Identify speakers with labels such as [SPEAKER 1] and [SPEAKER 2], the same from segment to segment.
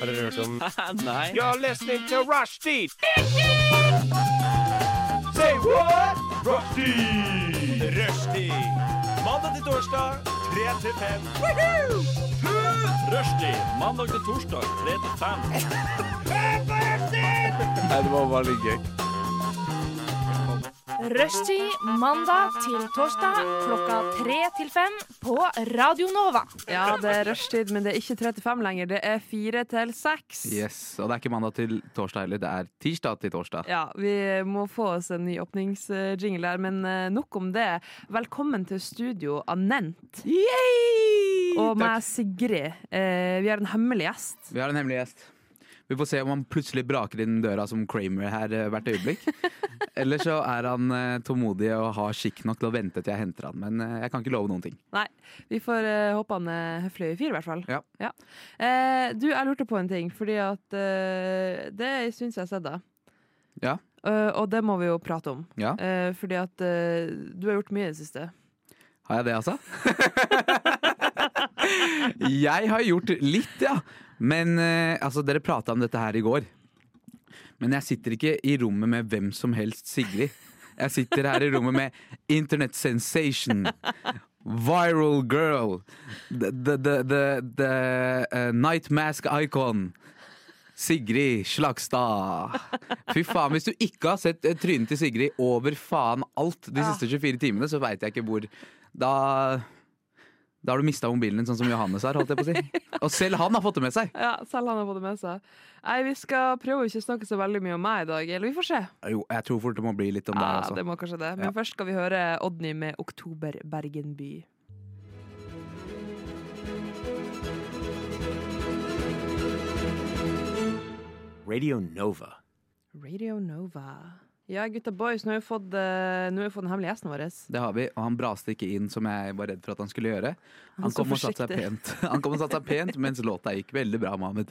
[SPEAKER 1] Har dere hørt om
[SPEAKER 2] Nei.
[SPEAKER 3] You're listening to Rushdie. Say what? Rushdie. Rushdie. Mandag til torsdag, 3 til 5.
[SPEAKER 2] Rushdie mandag til torsdag 3 til 5.
[SPEAKER 1] Nei, det var bare litt gøy.
[SPEAKER 4] Rushtid mandag til torsdag klokka tre til fem på Radio Nova.
[SPEAKER 5] Ja, det er rushtid, men det er ikke 35 lenger. Det er 4 til 6.
[SPEAKER 1] Yes, Og det er ikke mandag til torsdag heller, det er tirsdag til torsdag.
[SPEAKER 5] Ja, vi må få oss en ny åpningsjingle her, men eh, nok om det. Velkommen til studio, Anent. Og
[SPEAKER 1] Takk.
[SPEAKER 5] meg, Sigrid. Eh, vi har en hemmelig gjest.
[SPEAKER 1] Vi har en hemmelig gjest. Vi får se om han plutselig braker inn døra som Kramer her eh, hvert øyeblikk. Eller så er han eh, tålmodig og har skikk nok til å vente til jeg henter han. Men eh, jeg kan ikke love noen ting.
[SPEAKER 5] Nei, vi får eh, håpe han er høflig i fyr, i hvert fall.
[SPEAKER 1] Ja.
[SPEAKER 5] Eh, du, jeg lurte på en ting, fordi at eh, det er en stund siden jeg har sett deg.
[SPEAKER 1] Ja.
[SPEAKER 5] Eh, og det må vi jo prate om.
[SPEAKER 1] Ja.
[SPEAKER 5] Eh, fordi at eh, du har gjort mye i det siste.
[SPEAKER 1] Har jeg det, altså? jeg har gjort litt, ja. Men eh, altså, dere prata om dette her i går. Men jeg sitter ikke i rommet med hvem som helst Sigrid. Jeg sitter her i rommet med Internet Sensation. Viral girl. The, the, the, the, the eh, night mask icon. Sigrid Slagstad. Fy faen, hvis du ikke har sett eh, trynet til Sigrid over faen alt de siste 24 timene, så veit jeg ikke hvor Da da har du mista mobilen din, sånn som Johannes har. holdt jeg på å si. Og selv han har fått det med seg!
[SPEAKER 5] Ja, selv han har fått det med seg. Nei, vi skal prøve å ikke snakke så veldig mye om meg i dag, eller vi får se.
[SPEAKER 1] Jo, jeg tror fort det må bli litt om
[SPEAKER 5] Ja,
[SPEAKER 1] Ah, det
[SPEAKER 5] det
[SPEAKER 1] her også.
[SPEAKER 5] må kanskje det. Men
[SPEAKER 1] Ja.
[SPEAKER 5] først skal vi høre Odny med 'Oktober Bergen by'.
[SPEAKER 3] Radio Nova.
[SPEAKER 5] Radio Nova. Ja, gutta boys, nå har vi fått, eh, nå har vi fått den hemmelige gjesten vår.
[SPEAKER 1] Det har vi, og han braste ikke inn som jeg var redd for at han skulle gjøre. Han
[SPEAKER 5] så
[SPEAKER 1] kom og satte seg
[SPEAKER 5] forsiktig.
[SPEAKER 1] pent, han kom og satt seg pent mens låta gikk veldig bra, Mohammed.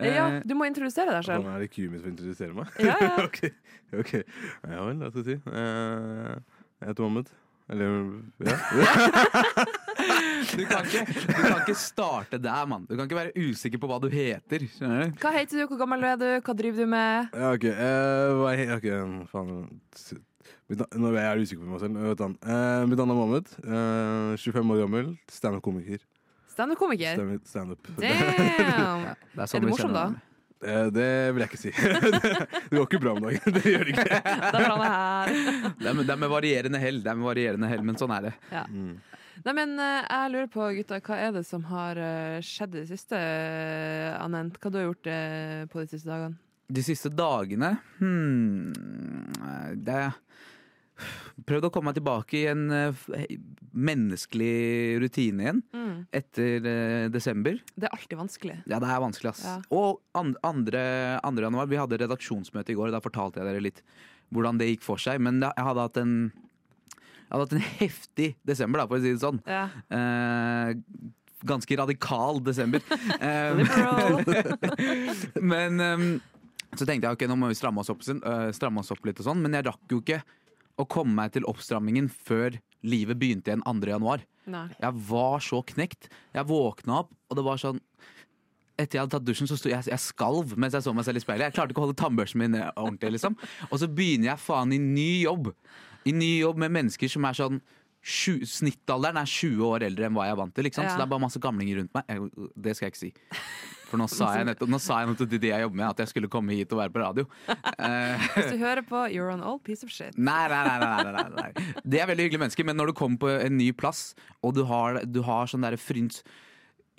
[SPEAKER 5] Eh, Ja, du må introdusere deg
[SPEAKER 6] Sånn
[SPEAKER 5] selv.
[SPEAKER 6] er det kuet mitt for å introdusere meg?
[SPEAKER 5] Ja, ja.
[SPEAKER 6] ok, ok. Ja vel, hva skal jeg si? Eh, jeg heter Mohammed. Eller ja.
[SPEAKER 1] Du kan, ikke, du kan ikke starte der, mann. Du kan ikke være usikker på hva du heter. skjønner du?
[SPEAKER 5] Hva heter du, hvor gammel er du, hva driver du med?
[SPEAKER 6] ja ok. eh, hva he- ok, faen. Mitt na- Nå er jeg usikker på meg selv. men Vet han. Eh, mitt navn er Mohammed. eh, 25 år gammel. Standup-komiker.
[SPEAKER 5] Standup-komiker.
[SPEAKER 6] Stemmer, Standup.
[SPEAKER 5] Damn!
[SPEAKER 1] Det
[SPEAKER 5] Er
[SPEAKER 1] sånn
[SPEAKER 5] du
[SPEAKER 1] vi
[SPEAKER 5] morsom,
[SPEAKER 1] kjenner
[SPEAKER 5] da?
[SPEAKER 1] hverandre.
[SPEAKER 6] Eh, det vil jeg ikke si. det går ikke bra om dagen. det gjør det ikke.
[SPEAKER 5] Der var han her.
[SPEAKER 1] Det er, med, det er med varierende hell, det er med varierende hell, men sånn er det.
[SPEAKER 6] Mm.
[SPEAKER 5] Nei, men eh, jeg lurer på, gutta, hva er det som har eh, skjedd i det siste, eh, Anent? Hva du har gjort eh, på de siste dagene?
[SPEAKER 1] De siste dagene hmm, Det Prøvd å komme meg tilbake i en eh, f- menneskelig rutine igjen
[SPEAKER 5] Mm.
[SPEAKER 1] etter eh, desember.
[SPEAKER 5] Det er alltid vanskelig.
[SPEAKER 1] Ja, det er vanskelig, ass.
[SPEAKER 5] Ja.
[SPEAKER 1] Og an andre, andre januar, vi hadde redaksjonsmøte i går, da fortalte jeg dere litt hvordan det gikk for seg. Men da- jeg hadde hatt en, jeg hadde hatt en heftig desember, da, for å si det sånn.
[SPEAKER 5] Ja.
[SPEAKER 1] Eh, ganske radikal desember. Eh, men ehm, så tenkte jeg ok, nå må vi stramme oss opp, sin- eh, stramme oss opp litt og sånn. Men jeg rakk jo ikke å komme meg til oppstrammingen før livet begynte igjen 2. januar.
[SPEAKER 5] Nei.
[SPEAKER 1] Jeg var så knekt. Jeg våkna opp, og det var sånn etter jeg hadde tatt dusjen, så sto jeg, jeg skalv mens jeg så meg selv i speilet. Jeg klarte ikke å holde tannbørsten min eh, ordentlig. liksom. Og så begynner jeg faen i ny jobb. I ny jobb med mennesker som er sånn sju- Snittalderen er 20 år eldre enn hva jeg er vant til. ikke sant?
[SPEAKER 5] Ja.
[SPEAKER 1] Så det er bare masse gamlinger rundt meg. Jeg, det skal jeg ikke si. For nå sa jeg nettopp, nå sa jeg nettopp til de jeg jobber med, at jeg skulle komme hit og være på radio. Eh,
[SPEAKER 5] Hvis du hører på You're an old piece of shit.
[SPEAKER 1] Nei, nei, nei, nei, nei, nei, nei. Det er veldig hyggelige mennesker, men når du kommer på en ny plass, og du har, du har sånn derre fryns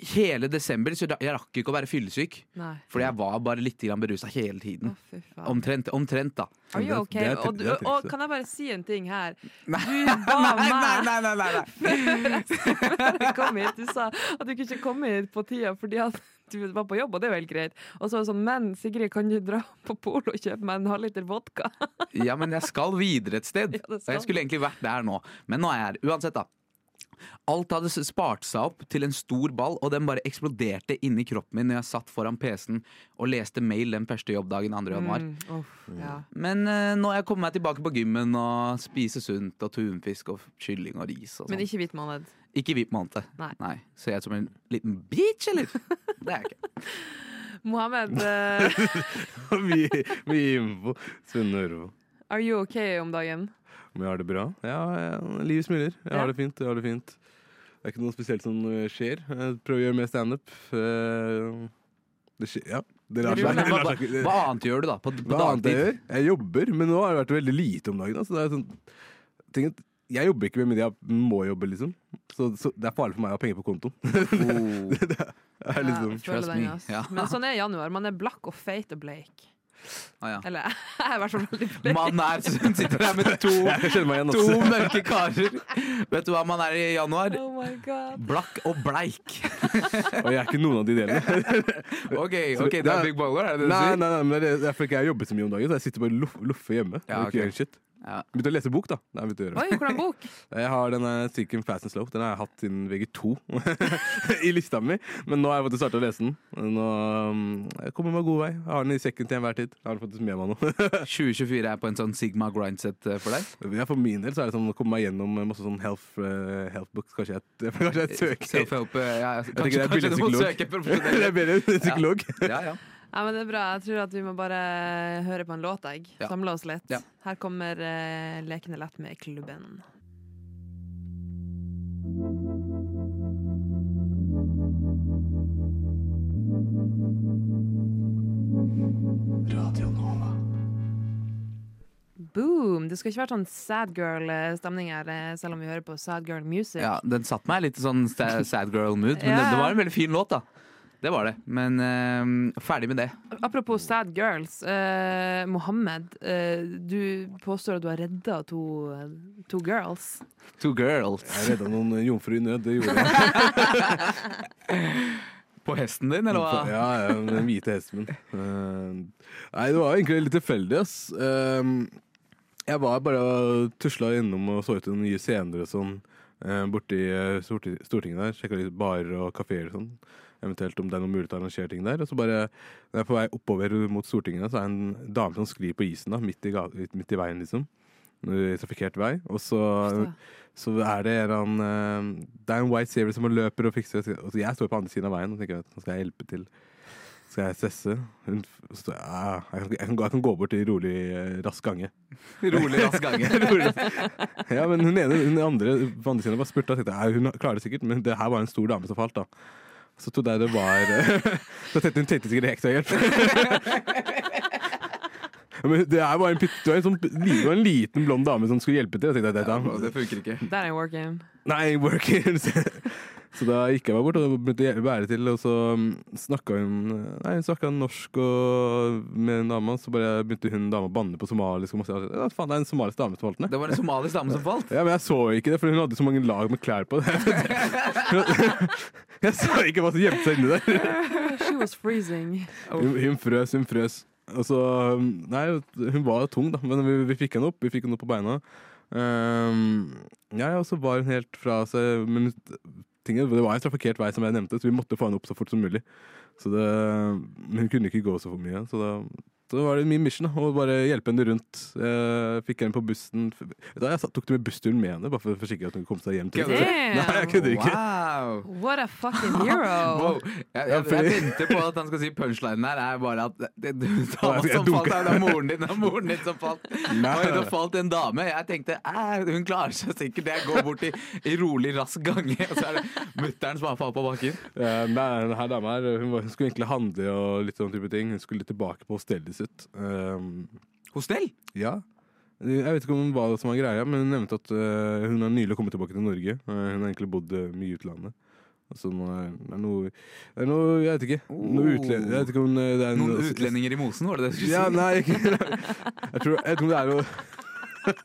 [SPEAKER 1] Hele desember så ra- jeg rakk ikke å være fyllesyk,
[SPEAKER 5] Nei.
[SPEAKER 1] fordi jeg var bare litt berusa hele
[SPEAKER 5] Å,
[SPEAKER 1] tiden.
[SPEAKER 5] fy faen.
[SPEAKER 1] Omtrent, omtrent da.
[SPEAKER 5] Are you
[SPEAKER 6] Det
[SPEAKER 5] okay?
[SPEAKER 6] er- det er
[SPEAKER 5] Og,
[SPEAKER 6] tri-
[SPEAKER 5] du,
[SPEAKER 6] det er
[SPEAKER 5] og
[SPEAKER 6] trikset.
[SPEAKER 5] kan jeg bare si en ting her? Du
[SPEAKER 1] Nei,
[SPEAKER 5] ba
[SPEAKER 1] nei, nei,
[SPEAKER 5] meg
[SPEAKER 1] nei, nei, nei.
[SPEAKER 5] før jeg kom hit, du sa at du kunne ikke komme hit på tida fordi at du var på jobb, og det er jo helt greit. Og så var det sånn, men Sigrid, kan du dra på polet og kjøpe meg en halvliter vodka?
[SPEAKER 1] Ja, men jeg skal videre et sted.
[SPEAKER 5] det
[SPEAKER 1] Og
[SPEAKER 5] skal
[SPEAKER 1] jeg skulle egentlig vært der nå, men nå er jeg her. Uansett, da. Alt hadde s- spart seg opp til en stor ball, og den bare eksploderte inni kroppen min når jeg satt foran PC-en og leste mail den første jobbdagen 2. januar.
[SPEAKER 5] Mm, Uff, ja.
[SPEAKER 1] Men eh, nå har jeg kommet meg tilbake på gymmen og spiser sunt og tunfisk og kylling og ris og
[SPEAKER 5] Men
[SPEAKER 1] sånn.
[SPEAKER 5] ikke hvit måned.
[SPEAKER 1] Ikke hvit måned.
[SPEAKER 5] Nei.
[SPEAKER 1] Ser jeg ut som en liten bitch, eller? Det er jeg ikke.
[SPEAKER 5] Mohammed, eh,
[SPEAKER 6] Mye mye info. Sunne hører på.
[SPEAKER 5] are you okay om dagen?
[SPEAKER 6] Om jeg har det bra? Ja, jeg, livet smiler. Jeg
[SPEAKER 5] Ja.
[SPEAKER 6] har det fint. jeg har det fint Det er ikke noe spesielt som eh, skjer. Jeg prøver å gjøre mer standup. Eh, Det skjer, ja. Det lar seg
[SPEAKER 1] Men
[SPEAKER 6] det
[SPEAKER 1] hva,
[SPEAKER 6] lar
[SPEAKER 1] hva,
[SPEAKER 6] seg ikke
[SPEAKER 1] hva annet gjør du, da? På, på
[SPEAKER 6] Hva annet jeg
[SPEAKER 1] dagtid?
[SPEAKER 6] gjør? Jeg jobber, men nå har det vært veldig lite om dagen. da, Så det er sånn, ting at jeg jobber ikke, men jeg må jobbe, liksom. Så, så det er farlig for meg å ha penger på konto.
[SPEAKER 1] Oh.
[SPEAKER 6] Det er liksom,
[SPEAKER 5] Jeg føler
[SPEAKER 1] trust
[SPEAKER 5] den,
[SPEAKER 1] me.
[SPEAKER 5] ass.
[SPEAKER 1] Ja.
[SPEAKER 5] Men sånn er januar. Man er blakk og feit og bleik.
[SPEAKER 1] Ah, ja.
[SPEAKER 5] Eller jeg er i hvert fall veldig bleik.
[SPEAKER 1] Man er, sitter der med to,
[SPEAKER 6] jeg kjenner meg igjen. altså.
[SPEAKER 1] to
[SPEAKER 6] ass.
[SPEAKER 1] mørke karer. Vet du hva man er i januar?
[SPEAKER 5] Oh my god.
[SPEAKER 1] Blakk og bleik.
[SPEAKER 6] Og jeg er ikke noen av de delene.
[SPEAKER 1] Ok, ok, det er big baller, er det det
[SPEAKER 6] Nei,
[SPEAKER 1] du sier?
[SPEAKER 6] nei, nei, men det er det er fordi jeg jobber så mye om dagen, så jeg sitter bare og loff- loffer hjemme.
[SPEAKER 1] Ja,
[SPEAKER 6] og ikke
[SPEAKER 1] ok.
[SPEAKER 6] gjør en shit.
[SPEAKER 1] Ja.
[SPEAKER 6] Begynte å lese bok, da. Det har jeg begynt å gjøre.
[SPEAKER 5] Oi, hvordan bok?
[SPEAKER 6] Jeg har denne Syken Fast and Slow. Den har jeg hatt siden VG2 i lista mi. Men nå har jeg fått starta å lese den. Nå um, jeg kommer meg god vei. Jeg har den i sekken til enhver tid. Jeg har den faktisk med meg nå.
[SPEAKER 1] 2024 er på en sånn Sigma grindset eh, for deg?
[SPEAKER 6] Ja, for min del så er det sånn å komme meg gjennom masse sånn health, eh, health books. Kanskje jeg, kanskje jeg søker.
[SPEAKER 1] Self-help, eh, ja, ja.
[SPEAKER 6] tenker det er
[SPEAKER 1] Kanskje, kanskje du må
[SPEAKER 6] billedpsykolog.
[SPEAKER 1] søke
[SPEAKER 6] Det er
[SPEAKER 1] profesjonell
[SPEAKER 6] bedre enn psykolog.
[SPEAKER 1] Ja, ja.
[SPEAKER 5] Ja, men det er bra. Jeg tror at vi må bare høre på en låt, jeg.
[SPEAKER 1] Ja.
[SPEAKER 5] Samle oss litt.
[SPEAKER 1] Ja.
[SPEAKER 5] Her kommer eh, Lekende lett med klubben. Boom! Det skal ikke være sånn sad girl-stemning her, eh, selv om vi hører på sad girl music.
[SPEAKER 1] ja, Den satte meg litt i sånn sta- sad girl-mood, men
[SPEAKER 5] Ja,
[SPEAKER 1] det,
[SPEAKER 5] ja.
[SPEAKER 1] det var en veldig fin låt, da. Det var det. Men eh, ferdig med det.
[SPEAKER 5] Apropos sad girls. eh, Mohammed, eh, du påstår at du har redda to, eh, to girls.
[SPEAKER 1] Two girls.
[SPEAKER 6] Jeg redda noen jomfruer i nød. Det gjorde jeg.
[SPEAKER 1] På hesten din, eller hva?
[SPEAKER 6] Ja, ja, den hvite hesten min. Eh, Nei, det var egentlig litt tilfeldig, ass. Eh, Jeg var bare og tusla innom og så ut noen nye scener og sånn. eh, Borti eh, Storti- Stortinget der. Sjekka litt barer og kafeer og sånn. Eventuelt om det er noen mulighet til å arrangere ting der. Og så bare, når jeg er på vei oppover mot Stortinget, så er det en dame som sklir på isen, da, midt i, ga midt i veien, liksom. I Trafikkert vei. Og så
[SPEAKER 5] Forstår.
[SPEAKER 6] så er det en, eller annen, eh, det er en white saver som løper og fikser Og jeg står på andre siden av veien og tenker at nå skal jeg hjelpe til. Skal jeg stresse? Hun, f- så, står jeg, ah, jeg, kan, jeg, kan, gå- jeg kan gå bort i rolig, eh, rask gange.
[SPEAKER 1] Rolig, rask gange.
[SPEAKER 6] Rolig. ja, men hun ene hun andre på andre siden bare spurte. og tenkte jeg, Hun klarer det sikkert, men det her var en stor dame som falt, da. Så trodde jeg det var eh, Så tenkte hun tenkte sikkert heksehjelp. Men det her var en, pytt- det var en, sånn, det var en liten blond dame som skulle hjelpe til. Og tenkte, jeg, dette,
[SPEAKER 1] Det funker ikke.
[SPEAKER 5] Der er working.
[SPEAKER 6] Nei, working Så da gikk jeg meg bort og begynte å hjelpe bære til, og så mm, snakka hun Nei, hun snakka norsk og, med en dame, og så bare begynte hun dama å banne på somalisk. Og masse, ja, faen, det er en somalisk dame som holdt ned.
[SPEAKER 1] Det var en somalisk dame som falt.
[SPEAKER 6] Ja, men jeg så ikke det, for hun hadde så mange lag med klær på. jeg så ikke hva som gjemte seg inni der.
[SPEAKER 5] She was freezing.
[SPEAKER 6] Hun, hun frøs, hun frøs. Og så, nei, hun var tung, da, men vi, vi fikk henne opp. Vi fikk henne opp på beina. Ehm, ja, og så var hun helt fra seg. Men tinget, det var en trafikkert vei, som jeg nevnte, så vi måtte få henne opp så fort som mulig. Så det, men hun kunne ikke gå så for mye. Så da, så da var det min mission da, å bare hjelpe henne rundt. Eh, fikk henne på bussen. Da, jeg satt- tok det med bussturen med henne, bare for å forsikre at hun kom seg hjem. til
[SPEAKER 1] Kødder du?
[SPEAKER 6] Nei, jeg
[SPEAKER 5] Damn!
[SPEAKER 6] kødder ikke.
[SPEAKER 1] Wow.
[SPEAKER 5] What a fucking hero!
[SPEAKER 1] Wow. Jeg,
[SPEAKER 6] Ja,
[SPEAKER 1] jeg,
[SPEAKER 6] fordi-
[SPEAKER 1] jeg venter på at han skal si punchlinen her er bare at det, det, dama
[SPEAKER 6] jeg
[SPEAKER 1] som
[SPEAKER 6] dunker.
[SPEAKER 1] falt, her, det er moren din, det er moren din som falt.
[SPEAKER 6] Nei.
[SPEAKER 1] Oi, det falt en dame. Jeg tenkte "Æ, hun klarer seg sikkert. Jeg går bort i, i rolig, rask gange, og så er det mutter'n som har falt på bakken.
[SPEAKER 6] Eh, Nei, den her dama her, hun, var, hun skulle egentlig handle og litt sånn type ting. Hun skulle tilbake på hostellet sitt. Um,
[SPEAKER 1] Hostell?
[SPEAKER 6] ja. Jeg vet ikke om hva som var greia, men hun nevnte at eh, hun har nylig kommet tilbake til Norge. Eh, hun har egentlig bodd eh, mye i utlandet. Altså, nå er, det er noe, det er noe Jeg vet ikke. Noe
[SPEAKER 1] Oh.
[SPEAKER 6] utlending, jeg vet ikke om eh, det er
[SPEAKER 1] Noen
[SPEAKER 6] noe-
[SPEAKER 1] utlendinger i mosen, var det det du
[SPEAKER 6] Ja,
[SPEAKER 1] skulle si?
[SPEAKER 6] nei, ikke Jeg tror Jeg vet ikke om det er noe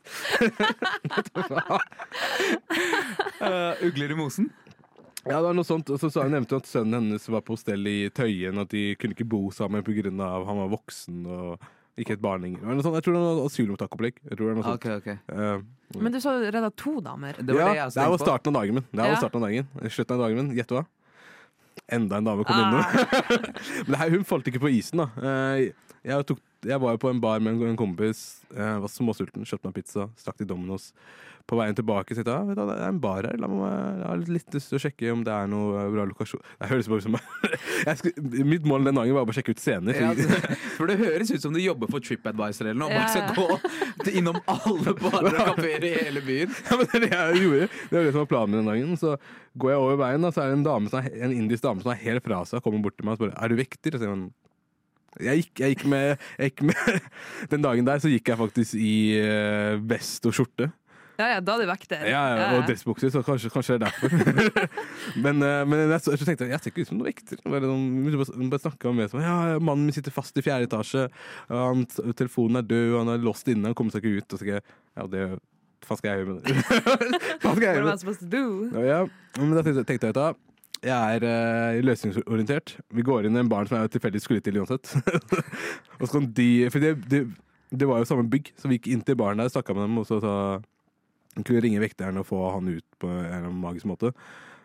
[SPEAKER 1] Eh, ugler i mosen?
[SPEAKER 6] Ja, det var noe sånt. Og så sa hun nevnte hun at sønnen hennes var på hostell i Tøyen, at de kunne ikke bo sammen pga. at han var voksen og ikke et barn lenger. Det var noe sånt. Jeg tror det var asylmottakopplegg. Jeg tror det var noe sånt.
[SPEAKER 1] Ok, Ah, ok.
[SPEAKER 6] Eh,
[SPEAKER 5] Men du sa du redda to damer.
[SPEAKER 1] Det var
[SPEAKER 6] ja,
[SPEAKER 1] det jeg
[SPEAKER 6] det her var
[SPEAKER 1] tenkte på.
[SPEAKER 6] starten av dagen min. Det her
[SPEAKER 5] Ja.
[SPEAKER 6] var starten av dagen. Slutten av dagen min. Gjett hva?
[SPEAKER 1] Ah.
[SPEAKER 5] Ah,
[SPEAKER 6] Enda en dame kom innom. Men det her, hun falt ikke på isen, da. Eh, Jeg, tok, jeg var jo på en bar med en, en kompis, jeg var småsulten, kjøpte meg pizza, stakk til Domino's. På veien tilbake tenkte jeg ah, vet du, hva, det er en bar her, la meg jeg har litt litt lyst til å sjekke om det er noe bra lokasjon. Det høres bare ut som jeg skulle, Mitt mål den dagen var bare å sjekke ut scener.
[SPEAKER 1] Ja, altså, for det høres ut som du jobber for TripAdvisor eller noe.
[SPEAKER 5] Ja,
[SPEAKER 1] Bare
[SPEAKER 5] ja.
[SPEAKER 1] skal gå til- innom alle barer og kafeer i hele byen.
[SPEAKER 6] Ja, men det er det jeg gjorde. Det var det som var planen den dagen. Så går jeg over veien, da, så er det en, dame som er, en indisk dame som er helt fra seg, kommer bort til meg og spør er du vekter. Og så sier hun, jeg gikk, jeg gikk med, jeg gikk med Den dagen der så gikk jeg faktisk i eh, vest og skjorte.
[SPEAKER 5] Ja, ja, da er du vekter.
[SPEAKER 6] Ja, ja, og dressbukser, så kanskje, kanskje det er derfor. men eh, men jeg, så, så tenkte jeg jeg ser ikke ut som noen vekter. Bare, noen, hun bare, bare snakket om det som ja, mannen min sitter fast i fjerde etasje, og han, telefonen er død, og han er låst inne, han kommer seg ikke ut. Og så tenker jeg, ja, det Hva skal jeg gjøre med det? Hva skal jeg
[SPEAKER 5] What
[SPEAKER 6] gjøre
[SPEAKER 5] am
[SPEAKER 6] med
[SPEAKER 5] I
[SPEAKER 6] det?
[SPEAKER 5] supposed to do?
[SPEAKER 6] Ja, ja. Men da tenkte, tenkte jeg da jeg er eh, løsningsorientert. Vi går inn i en barn som jeg tilfeldigvis skulle til uansett. og så kan de For det, det, det var jo samme bygg, så vi gikk inn til baren der, snakka med dem, og så, så kunne vi ringe vekteren og få han ut på en eller annen magisk måte.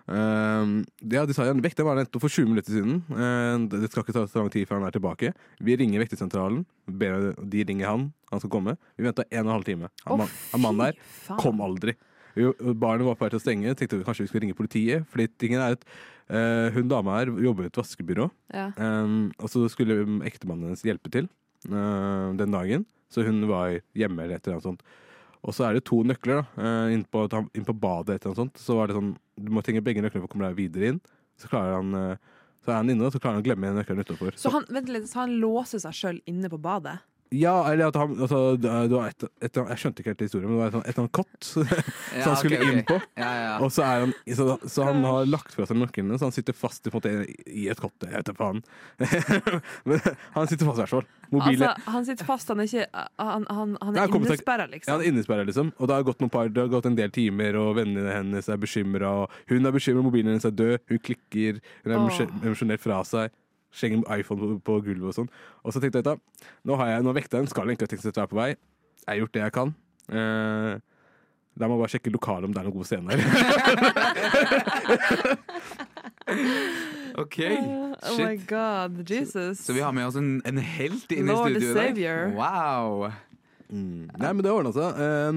[SPEAKER 6] Ehm, ja, de sa ja, vekteren var der nettopp for 20 minutter siden. Ehm, det det skal ikke ta så lang tid før han er tilbake. Vi ringer vektersentralen, ber- de ringer han, han skal komme. Vi venta en og en halv time.
[SPEAKER 5] Å,
[SPEAKER 6] Han, oh, han mannen der
[SPEAKER 5] fy faen.
[SPEAKER 6] Kom aldri. Jo, Barnet var på vei til å stenge, tenkte vi kanskje vi skulle ringe politiet. Fordi tingen er at eh, hun dama her jobber i et vaskebyrå,
[SPEAKER 5] Ja.
[SPEAKER 6] Ehm, og så skulle mm, ektemannen hennes hjelpe til eh, den dagen. Så hun var hjemme eller et eller annet sånt. Og så er det to nøkler da, eh, inn, på, inn på badet et eller annet sånt. Så var det sånn, du må trenge begge nøklene for å komme deg videre inn. Så klarer han... eh, så er han inne, og så klarer han å glemme nøkkelen utenfor.
[SPEAKER 5] Så han, vent litt, så han låser seg sjøl inne på badet?
[SPEAKER 6] Ja, eller at han altså, det var et, et, Jeg skjønte ikke helt historien, men det var et, et eller annet kott som
[SPEAKER 1] Ja,
[SPEAKER 6] han skulle
[SPEAKER 1] ok, ok.
[SPEAKER 6] inn på.
[SPEAKER 1] Ja, ja.
[SPEAKER 6] Og så, er han, så, så han har lagt fra seg nøklene, så han sitter fast i, på en måte, i et kott. Jeg vet da faen. Men han sitter fast i hvert fall. Mobilen
[SPEAKER 5] Altså, han sitter fast, han er ikke Han, han, han
[SPEAKER 6] Nei, han
[SPEAKER 5] er
[SPEAKER 6] kommer seg-
[SPEAKER 5] innesperra,
[SPEAKER 6] ja, han
[SPEAKER 5] liksom.
[SPEAKER 6] er innesperra, liksom. Og det har gått noen par, det har gått en del timer, og vennene hennes er bekymra. Hun er bekymra, mobilen hennes er død, hun klikker, hun er
[SPEAKER 5] Åh.
[SPEAKER 6] emosjon- emosjonelt fra seg. Slenger iPhone på, på gulvet og sånn. Og så tenkte jeg, vet du, nå har jeg, nå vekta den, skal egentlig ha tenkt seg å være på vei. Jeg har gjort det jeg kan. Eh, la meg bare sjekke lokalet om det er noen gode scener.
[SPEAKER 1] OK.
[SPEAKER 5] Oh my
[SPEAKER 1] Shit.
[SPEAKER 5] god, Jesus.
[SPEAKER 1] Så vi har med oss en, en helt inn i
[SPEAKER 5] Lord
[SPEAKER 1] studio i dag.
[SPEAKER 5] Savior.
[SPEAKER 1] Wow.
[SPEAKER 6] Mm. Nei, men det ordna seg. Eh,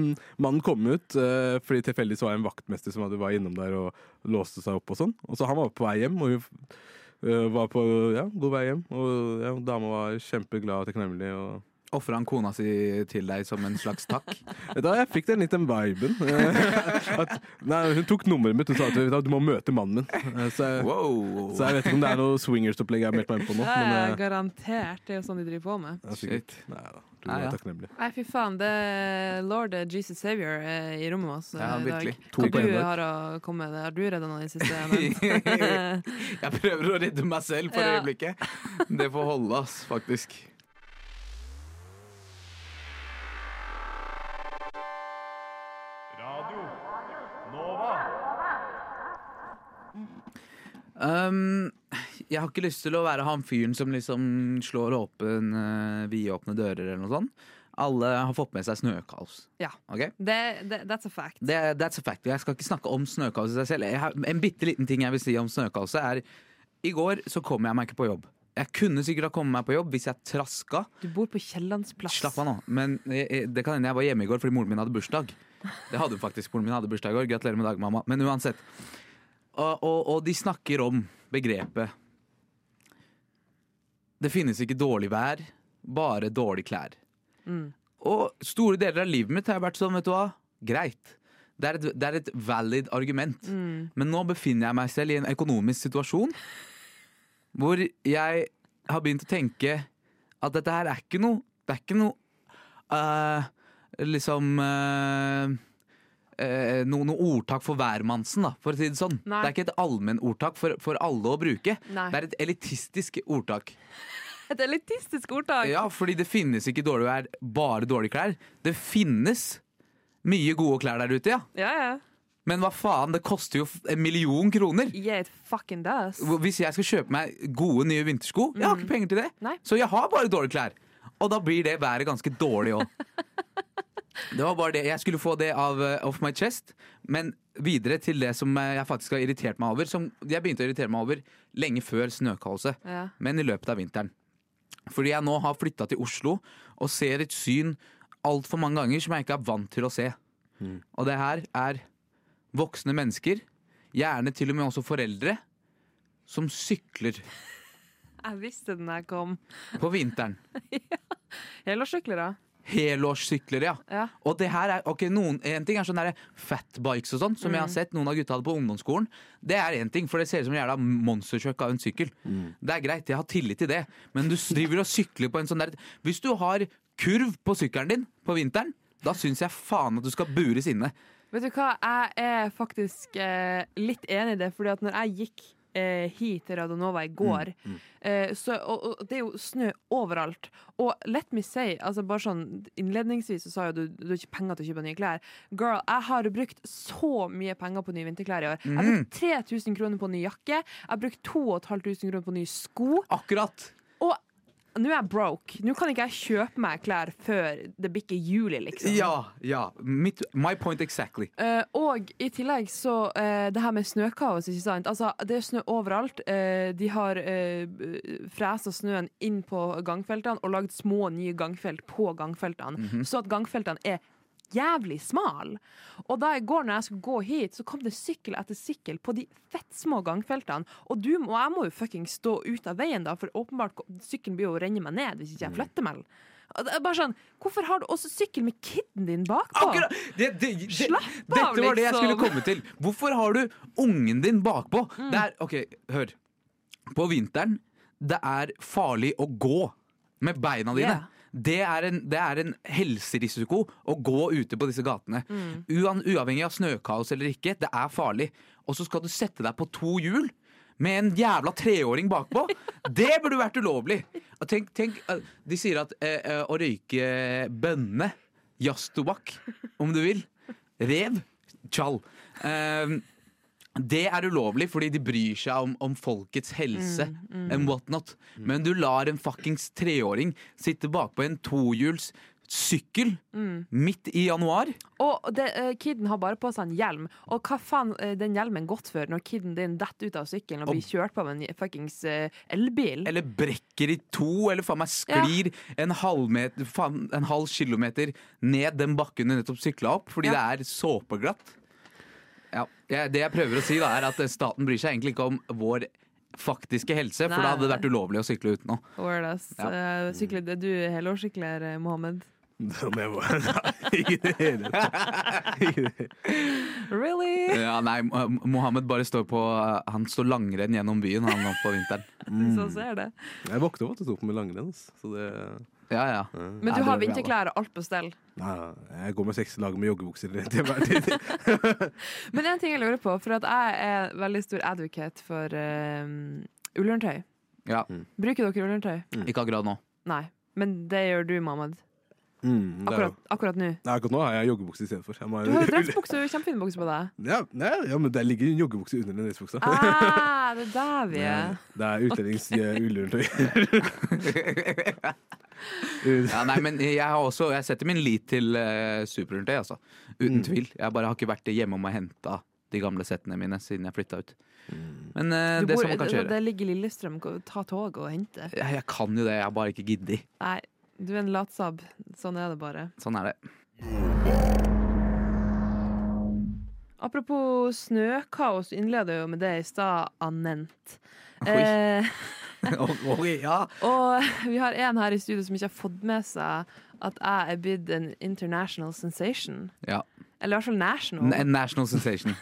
[SPEAKER 6] mannen kom ut eh, fordi tilfeldigvis var det en vaktmester som hadde var innom der og låste seg opp og sånn. Og så han var på vei hjem, og hun eh, var på ja, god vei hjem. Og ja, dama var kjempeglad og takknemlig. Og
[SPEAKER 1] Ofra han kona si til deg som en slags takk?
[SPEAKER 6] Vet du hva, jeg fikk den litt den viben. eh, at, nei, hun tok nummeret mitt og sa at vet du hva, du må møte mannen min. Eh, så, jeg,
[SPEAKER 1] Wow.
[SPEAKER 6] så jeg vet ikke om det er noe swingers-opplegg jeg har meldt meg inn på nå.
[SPEAKER 5] Ja,
[SPEAKER 6] Men
[SPEAKER 5] ja,
[SPEAKER 6] eh,
[SPEAKER 5] garantert. Det er jo sånn de driver på med.
[SPEAKER 6] jeg er sikkert, nei da, du
[SPEAKER 1] Nei,
[SPEAKER 6] er
[SPEAKER 1] ja.
[SPEAKER 6] takknemlig.
[SPEAKER 5] Nei, fy faen. Det er lord eh, Jesus Savior eh, i rommet med oss eh,
[SPEAKER 1] Ja,
[SPEAKER 5] i dag.
[SPEAKER 1] virkelig.
[SPEAKER 6] To
[SPEAKER 5] Hva
[SPEAKER 6] på en
[SPEAKER 5] du
[SPEAKER 6] dag.
[SPEAKER 5] har å komme med? Har du redda noen i det siste? Anette?
[SPEAKER 1] Jeg prøver å redde meg selv for
[SPEAKER 5] Ja.
[SPEAKER 1] øyeblikket. Det får holde, ass, faktisk.
[SPEAKER 3] Radio Nova.
[SPEAKER 1] Um, jeg har ikke lyst til å være han fyren som liksom slår åpen eh, vidåpne dører eller noe sånt. Alle har fått med seg snøkaos.
[SPEAKER 5] ja.
[SPEAKER 1] ok?
[SPEAKER 5] Det, det, that's a fact.
[SPEAKER 1] Det, that's a fact. Jeg skal ikke snakke om snøkaos i seg selv. Jeg har, en bitte liten ting jeg vil si om snøkaoset, er I går så kom jeg meg ikke på jobb. Jeg kunne sikkert ha kommet meg på jobb hvis jeg traska.
[SPEAKER 5] Du bor på Kiellandsplass.
[SPEAKER 1] Slapp av nå. Men jeg, jeg- det kan hende jeg var hjemme i går fordi moren min hadde bursdag. Det hadde hun faktisk. Moren min hadde bursdag i går. Gratulerer med dagen, mamma. Men uansett. Og, og, og de snakker om begrepet Det finnes ikke dårlig vær, bare dårlige klær.
[SPEAKER 5] Mm,
[SPEAKER 1] Og store deler av livet mitt har jeg vært sånn, vet du hva. Greit. Det er et, det er et valid argument.
[SPEAKER 5] mm.
[SPEAKER 1] Men nå befinner jeg meg selv i en økonomisk situasjon hvor jeg har begynt å tenke at dette her er ikke noe Det er ikke noe eh, Liksom eh, eh, noe, noe ordtak for hvermannsen, da, for å si det sånn.
[SPEAKER 5] Nei.
[SPEAKER 1] Det er ikke et allmennordtak for, for alle å bruke.
[SPEAKER 5] Nei.
[SPEAKER 1] Det er et elitistisk ordtak.
[SPEAKER 5] Et elitistisk ordtak!
[SPEAKER 1] Ja, fordi det finnes ikke dårlig vær, bare dårlige klær. Det finnes mye gode klær der ute, ja.
[SPEAKER 5] ja, ja.
[SPEAKER 1] Men hva faen, det koster jo f- en million kroner.
[SPEAKER 5] Yeah, it fucking does.
[SPEAKER 1] Hvor- Hvis jeg skal kjøpe meg gode nye vintersko, jeg har ikke penger til det.
[SPEAKER 5] Nei.
[SPEAKER 1] Så jeg har bare dårlige klær. Og da blir det været ganske dårlig òg. Det var bare det. Jeg skulle få det av eh, off my chest. Men videre til det som eh, jeg faktisk har irritert meg over. Som jeg begynte å irritere meg over lenge før snøkaoset,
[SPEAKER 5] Ja.
[SPEAKER 1] men i løpet av vinteren. Fordi jeg nå har flytta til Oslo og ser et syn altfor mange ganger som jeg ikke er vant til å se. Og det her er voksne mennesker, gjerne til og med også foreldre, som sykler
[SPEAKER 5] Jeg visste den jeg kom.
[SPEAKER 1] på vinteren.
[SPEAKER 5] Helårssyklere.
[SPEAKER 1] Helårssyklere, ja.
[SPEAKER 5] Ja.
[SPEAKER 1] Og det her er, ok, noen, En ting er sånn der fatbikes og sånn, som
[SPEAKER 5] Mm.
[SPEAKER 1] jeg har sett noen av gutta hadde på ungdomsskolen. Det er én ting, for det ser ut som en jævla monstertruck av en sykkel. Det er greit, jeg har tillit til det, men du driver og sykler på en sånn der Hvis du har kurv på sykkelen din på vinteren, da syns jeg faen at du skal bures inne.
[SPEAKER 5] Vet du hva, jeg er faktisk eh, litt enig i det, fordi at når jeg gikk eh, hit til Radionova i går, eh, så, og, og det er jo snø overalt. Og let me say, altså bare sånn innledningsvis så sa jo du du har ikke penger til å kjøpe nye klær. Girl, jeg har brukt så mye penger på nye vinterklær i år. Jeg har brukt 3000 kroner på ny jakke, jeg har brukt 2500 kroner på nye sko.
[SPEAKER 1] Akkurat!
[SPEAKER 5] Og nå er jeg broke. Nå kan ikke jeg kjøpe meg klær før det bikker juli, liksom.
[SPEAKER 1] Ja, ja. Mitt, my point exactly.
[SPEAKER 5] Eh, og i tillegg så eh, det her med snøkaos, ikke sant. Altså, det er snø overalt. Eh, de har uh, fresa snøen inn på gangfeltene og lagd små nye gangfelt på gangfeltene. Så at gangfeltene er jævlig smal. Og da i går når jeg skulle gå hit, så kom det sykkel etter sykkel på de fettsmå gangfeltene. Og du må, jeg må jo fucking stå ut av veien, da, for åpenbart sykkelen blir jo å renne meg ned hvis ikke jeg flytter meg. Og det er Bare sånn, Hvorfor har du også sykkel med kiden din bakpå?
[SPEAKER 1] Akkurat! Det, det, det,
[SPEAKER 5] Slapp av,
[SPEAKER 1] dette var det jeg skulle
[SPEAKER 5] liksom. Mm.
[SPEAKER 1] komme til. Hvorfor har du ungen din bakpå? Det er, ok, hør. På vinteren, det er farlig å gå med beina dine.
[SPEAKER 5] Ja.
[SPEAKER 1] Det, er en, det er en helserisiko å gå ute på disse gatene. Uan, uavhengig av snøkaos eller ikke, det er farlig. Og så skal du sette deg på to hjul. Med en jævla treåring bakpå! Det burde vært ulovlig! Og Tenk, tenk, eh, De sier at eh, eh, å røyke bønne, jazztobakk, om du vil, rev, tjall eh, det er ulovlig fordi de bryr seg om, om folkets helse
[SPEAKER 5] Mm,
[SPEAKER 1] and whatnot. Men du lar en fuckings treåring sitte bakpå en tohjuls sykkel
[SPEAKER 5] Mm.
[SPEAKER 1] midt i januar.
[SPEAKER 5] Og det, eh, kiden har bare på seg en hjelm. Og hva faen eh, den hjelmen godt for når kiden din detter ut av sykkelen og
[SPEAKER 1] Og-
[SPEAKER 5] blir kjørt på av en fuckings eh, elbil?
[SPEAKER 1] Eller brekker i to, eller faen meg sklir en, halv meter, faen, en halv kilometer ned den bakken du nettopp sykla opp, fordi
[SPEAKER 5] Ja.
[SPEAKER 1] det er såpeglatt. Ja, jeg, det jeg prøver å si, da, er at staten bryr seg egentlig ikke om vår faktiske helse, for
[SPEAKER 5] Nei,
[SPEAKER 1] da hadde det
[SPEAKER 5] nei.
[SPEAKER 1] vært ulovlig å sykle uten nå.
[SPEAKER 5] Word, ass.
[SPEAKER 1] Ja.
[SPEAKER 5] Eh, sykler- det er du er helårssykler, eh, Mohammed?
[SPEAKER 6] Den er bare Nei, ikke i det hele tatt. Ikke i det hele-
[SPEAKER 5] Really?
[SPEAKER 1] Ja, nei, Mo- Mohammed bare står på eh, Han står langrenn gjennom byen han nå på vinteren.
[SPEAKER 5] Hvis
[SPEAKER 6] Mm.
[SPEAKER 5] jeg ser det.
[SPEAKER 6] Jeg våkna opp at du tok på meg langrenn. ass. Så det
[SPEAKER 1] Ja, ja.
[SPEAKER 5] Men
[SPEAKER 6] Ja,
[SPEAKER 5] du
[SPEAKER 6] det
[SPEAKER 5] har
[SPEAKER 6] gjør vi alle.
[SPEAKER 5] vinterklær og alt på stell.
[SPEAKER 6] Nei, nei, jeg går med seks lag med joggebukser til hver tid.
[SPEAKER 5] Men en ting jeg lurer på, for at jeg er veldig stor advocate for eh, ullundertøy.
[SPEAKER 1] ja.
[SPEAKER 5] Bruker dere ullundertøy?
[SPEAKER 1] Mm. Ikke akkurat nå.
[SPEAKER 5] Nei. Men det gjør du, Mohammed.
[SPEAKER 6] Mm, det er jo-
[SPEAKER 5] Akkurat, akkurat nå.
[SPEAKER 6] Nei, akkurat nå har jeg joggebukse istedenfor.
[SPEAKER 5] Du har jo dressbukse og kjempefine bukser på deg.
[SPEAKER 6] Ja, nei, ja, men der ligger en joggebukse under den dressbuksa.
[SPEAKER 5] Ah, det er der vi er.
[SPEAKER 6] Det er utlendings eh, ullundertøy.
[SPEAKER 1] Ja, nei, men jeg har også Jeg setter min lit til uh, superundertøy, altså. Uten tvil. Jeg bare har ikke vært hjemme om å hente de gamle settene mine siden jeg flytta ut. Men eh,
[SPEAKER 5] Du
[SPEAKER 1] det
[SPEAKER 5] bor-
[SPEAKER 1] skal man kanskje
[SPEAKER 5] det
[SPEAKER 1] gjøre.
[SPEAKER 5] ligger i Lillestrøm. gå- Ta toget og hente.
[SPEAKER 1] Ja, jeg kan jo det, jeg har bare ikke giddet.
[SPEAKER 5] Nei, du er en latsabb. Sånn er det bare.
[SPEAKER 1] Sånn er det.
[SPEAKER 5] Apropos snøkaos, du innleder jo med det i stad, Anent.
[SPEAKER 1] Oi.
[SPEAKER 5] Eh,
[SPEAKER 1] Oi, ja.
[SPEAKER 5] og vi har en her i studio som ikke har fått med seg at jeg er blitt en international sensation.
[SPEAKER 1] ja.
[SPEAKER 5] Eller i hvert fall national.
[SPEAKER 1] N- En national sensation.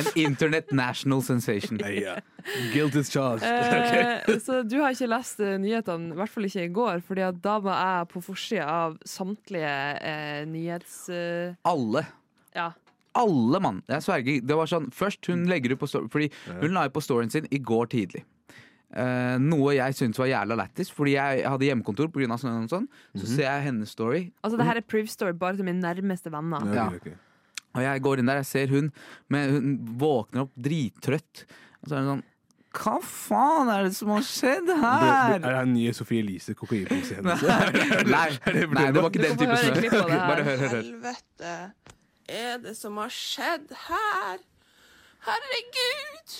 [SPEAKER 1] En internet national sensation.
[SPEAKER 6] Nei, ja. Guilt is charged.
[SPEAKER 5] Eh, Så du har ikke lest eh, nyhetene, i hvert fall ikke i går, Fordi at da var jeg på forsida av samtlige eh, nyhets... Eh,
[SPEAKER 1] Alle
[SPEAKER 5] ja.
[SPEAKER 1] alle mann. Jeg sverger. Det var sånn, først hun legger ut på story, fordi hun la ut på storyen sin i går tidlig. Eh, noe jeg syntes var jævla lættis, fordi jeg hadde hjemmekontor pga. sånn og sånn. Så ser jeg hennes story,
[SPEAKER 5] Altså, det her er priv story bare til mine nærmeste venner.
[SPEAKER 1] ja.
[SPEAKER 6] Ok, ok.
[SPEAKER 1] og jeg går inn der, jeg ser hun, men hun våkner opp drittrøtt. Og så er hun sånn Hva faen er det som har skjedd
[SPEAKER 5] Ah,
[SPEAKER 6] Er det
[SPEAKER 1] her?
[SPEAKER 6] her nye Sophie Elise kokainpose igjen? altså?
[SPEAKER 1] Nei, nei, det var ikke
[SPEAKER 5] Du
[SPEAKER 1] den
[SPEAKER 5] skal få
[SPEAKER 1] type
[SPEAKER 5] høre
[SPEAKER 1] snø.
[SPEAKER 5] klipp av det her.
[SPEAKER 1] Bare hør, hør, hør.
[SPEAKER 7] helvete er det som har skjedd her? Herregud!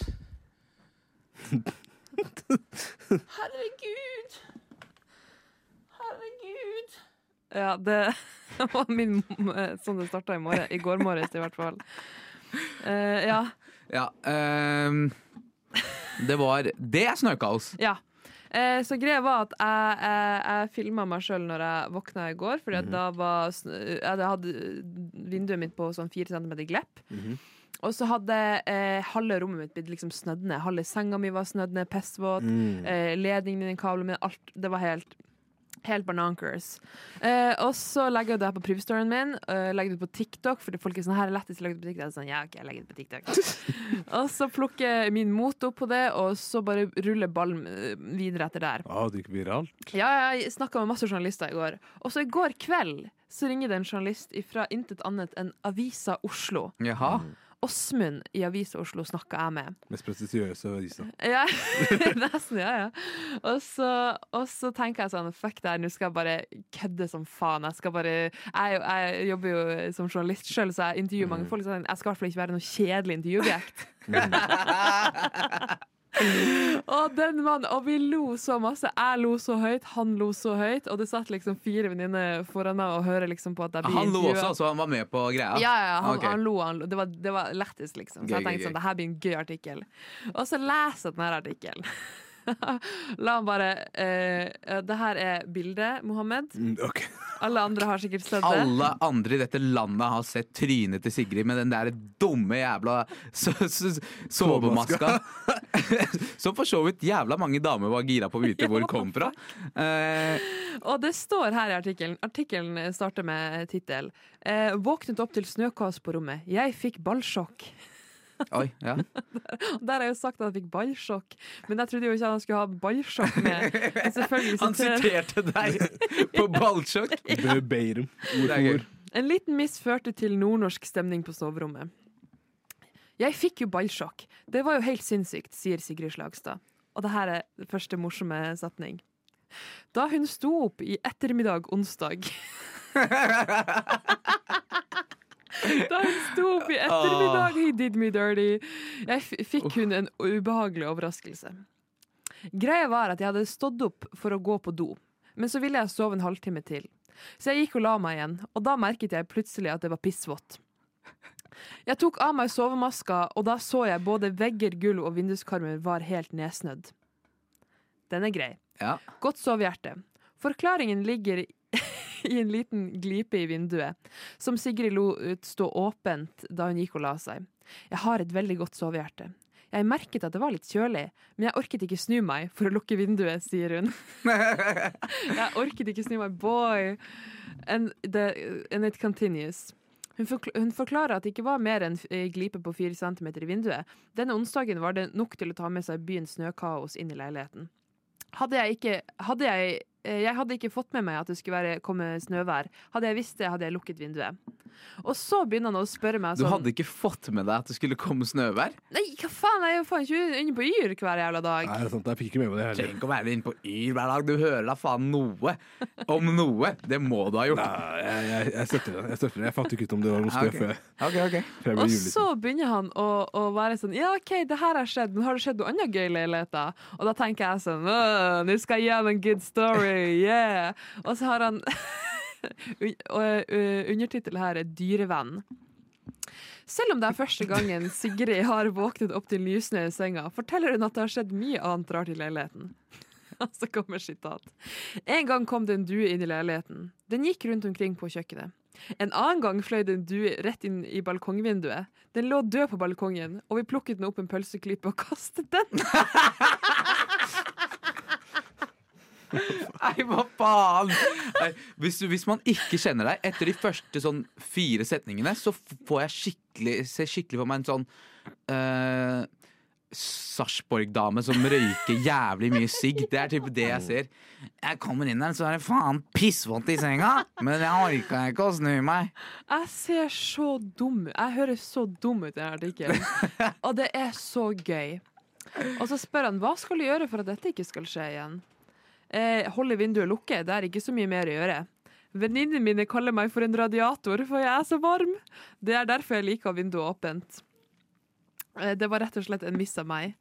[SPEAKER 7] Herregud!
[SPEAKER 5] Ja, det var min, sånn det starta i, morgen- i går morges, i hvert fall. Eh, ja.
[SPEAKER 1] Ja, ehm, det var Det er snøkaos!
[SPEAKER 5] ja. Eh, så greia var at jeg, jeg, jeg filma meg sjøl når jeg våkna i går, fordi at da var snø- jeg hadde eh, vinduet mitt på sånn fire centimeter glepp. Og så hadde eh, halve rommet mitt blitt liksom snødd ned. Halve senga mi var snødd ned, pissvåt.
[SPEAKER 6] Mm.
[SPEAKER 5] Eh, ledningen i den kabelen min, alt. Det var helt Helt banankers. Eh, og så legger jeg det her på privstoryen min. eh, legger det ut på TikTok, fordi folk er sånn her er lettest å legge det på TikTok. Jeg er sånn, ja, ok, jeg legger det på TikTok. og så plukker min mot opp på det, og så bare ruller ballen eh, videre etter der.
[SPEAKER 6] Ah, det gikk viralt.
[SPEAKER 5] Ja, jeg snakka med masse journalister i går. Og så i går kveld så ringer det en journalist fra intet annet enn Avisa Oslo.
[SPEAKER 1] Jaha.
[SPEAKER 5] Åsmund i Avisa Oslo snakka jeg med.
[SPEAKER 6] Mest prestisiøse avisa.
[SPEAKER 5] Ja, nesten, ja, ja. Og så, og så tenker jeg sånn, fuck det her, nå skal jeg bare kødde som faen. Jeg, skal bare, jeg, er jo- jeg jobber jo som journalist sjøl, så jeg intervjuer
[SPEAKER 1] Mm.
[SPEAKER 5] mange folk. Så jeg tenkte, jeg skal i hvert fall ikke være noe kjedelig intervjuobjekt. og den mannen, og vi lo så masse. Jeg lo så høyt, han lo så høyt. Og det satt liksom fire venninner foran meg og hører liksom på at jeg blir
[SPEAKER 1] Han lo
[SPEAKER 5] intervjuet.
[SPEAKER 1] også, altså han var med på greia?
[SPEAKER 5] Ja, ja, ja, han,
[SPEAKER 1] Ok.
[SPEAKER 5] han lo. Han lo. Det, var, det var lettest, liksom. Så
[SPEAKER 1] Gøy,
[SPEAKER 5] jeg
[SPEAKER 1] gøy,
[SPEAKER 5] tenkte
[SPEAKER 1] gøy.
[SPEAKER 5] sånn, det her blir en gøy artikkel. Og så leser jeg denne artikkelen. La han bare eh, Det her er bildet, Mohammed.
[SPEAKER 6] Mm, ok.
[SPEAKER 5] Alle andre har sikkert sett det.
[SPEAKER 1] Alle andre i dette landet har sett trynet til Sigrid med den der dumme jævla so so sovemaska. Som for så vidt jævla mange damer var gira på å vite hvor
[SPEAKER 5] Ja,
[SPEAKER 1] kom fra. Eh,
[SPEAKER 5] Og det står her i artikkelen. Artikkelen starter med tittel. Eh, 'Våknet opp til snøkaos på rommet. Jeg fikk ballsjokk'.
[SPEAKER 1] oi, ja.
[SPEAKER 5] Og Der har jeg jo sagt at han fikk ballsjokk, men jeg trodde jo ikke han skulle ha ballsjokk med. Men selvfølgelig
[SPEAKER 1] Han
[SPEAKER 5] siterer-
[SPEAKER 1] siterte deg på ballsjokk!
[SPEAKER 6] Beirum. Ord
[SPEAKER 1] Det
[SPEAKER 6] for
[SPEAKER 1] er gøy.
[SPEAKER 6] ord.
[SPEAKER 5] En liten miss førte til nordnorsk stemning på soverommet. Jeg fikk jo ballsjokk. Det var jo helt sinnssykt, sier Sigrid Slagstad. Og det her er det første morsomme setning. Da hun sto opp i ettermiddag onsdag Da hun sto opp i ettermiddag, he did me dirty. Jeg f fikk hun en ubehagelig overraskelse. Greia var at jeg hadde stått opp for å gå på do, men så ville jeg sove en halvtime til. Så jeg gikk og la meg igjen, og da merket jeg plutselig at det var pissvått. Jeg tok av meg sovemaska, og da så jeg både vegger, gulv og vinduskarmer var helt nedsnødd. Den er grei.
[SPEAKER 1] Ja.
[SPEAKER 5] Godt sovehjerte. Forklaringen ligger i i en liten glipe i vinduet, som Sigrid lo ut stå åpent da hun gikk og la seg. Jeg har et veldig godt sovehjerte. Jeg merket at det var litt kjølig, men jeg orket ikke snu meg for å lukke vinduet, sier hun. Jeg orket ikke snu meg, boy! And, the, and it continues. Hun, forkl hun forklarer at det ikke var mer enn ei glipe på fire centimeter i vinduet. Denne onsdagen var det nok til å ta med seg byens snøkaos inn i leiligheten. Hadde jeg ikke hadde jeg, eh, jeg hadde ikke fått med meg at det skulle være, komme snøvær. Hadde jeg visst det, hadde jeg lukket vinduet. Og så begynner han å spørre meg
[SPEAKER 1] Du
[SPEAKER 5] sånn
[SPEAKER 1] hadde ikke fått med deg at det skulle komme snøvær?
[SPEAKER 5] Nei, hva faen, jeg er jo faen ikke inne på Yr hver jævla dag.
[SPEAKER 6] Nei, det er sant. Jeg fikk ikke med meg det heller.
[SPEAKER 1] Tenk å være inne på Yr hver dag. Du hører da faen noe om noe. Det må du ha gjort.
[SPEAKER 6] Nei, jeg, jeg, jeg støtter det. Jeg støtter det. Jeg fant ikke ut om det var noe
[SPEAKER 1] Ja,
[SPEAKER 6] støv
[SPEAKER 1] ok.
[SPEAKER 6] før jeg-
[SPEAKER 1] Ok, ok.
[SPEAKER 6] før jeg ble
[SPEAKER 5] Og
[SPEAKER 6] juleliten.
[SPEAKER 5] så begynner han å, å være sånn Ja, OK, det her har skjedd, men har det skjedd noe annet gøy i leiligheten? Og da tenker jeg sånn «Åh, Nå skal jeg gjøre en good story, yeah! Og så har han un- og, uh, Undertittel her er 'Dyrevenn'. Selv om det er første gangen Sigrid har våknet opp til nysnø i senga, forteller hun at det har skjedd mye annet rart i leiligheten. Og så kommer sitat. En gang kom det en due inn i leiligheten. Den gikk rundt omkring på kjøkkenet. En annen gang fløy det en due rett inn i balkongvinduet. Den lå død på balkongen, og vi plukket den opp en pølseklype og kastet den.
[SPEAKER 1] Nei, hva faen? Nei, hvis, du- hvis man ikke kjenner deg etter de første sånn fire setningene, så f- får jeg skikkelig, se skikkelig for meg en sånn eh, Sarpsborg-dame som røyker jævlig mye sigg. Det er typ det jeg ser. Jeg kommer inn her, så er det faen pissvondt i senga! Men jeg orka ikke å snu meg.
[SPEAKER 5] Jeg ser så dum ut. Jeg høres så dum ut i denne artikkelen. Og det er så gøy. Og så spør han hva skal du gjøre for at dette ikke skal skje igjen. Eh, holde vinduet lukket, det er ikke så mye mer å gjøre. Venninnene mine kaller meg for en radiator, for jeg er så varm. Det er derfor jeg liker å ha vinduet åpent. Eh, det var rett og slett en miss av meg.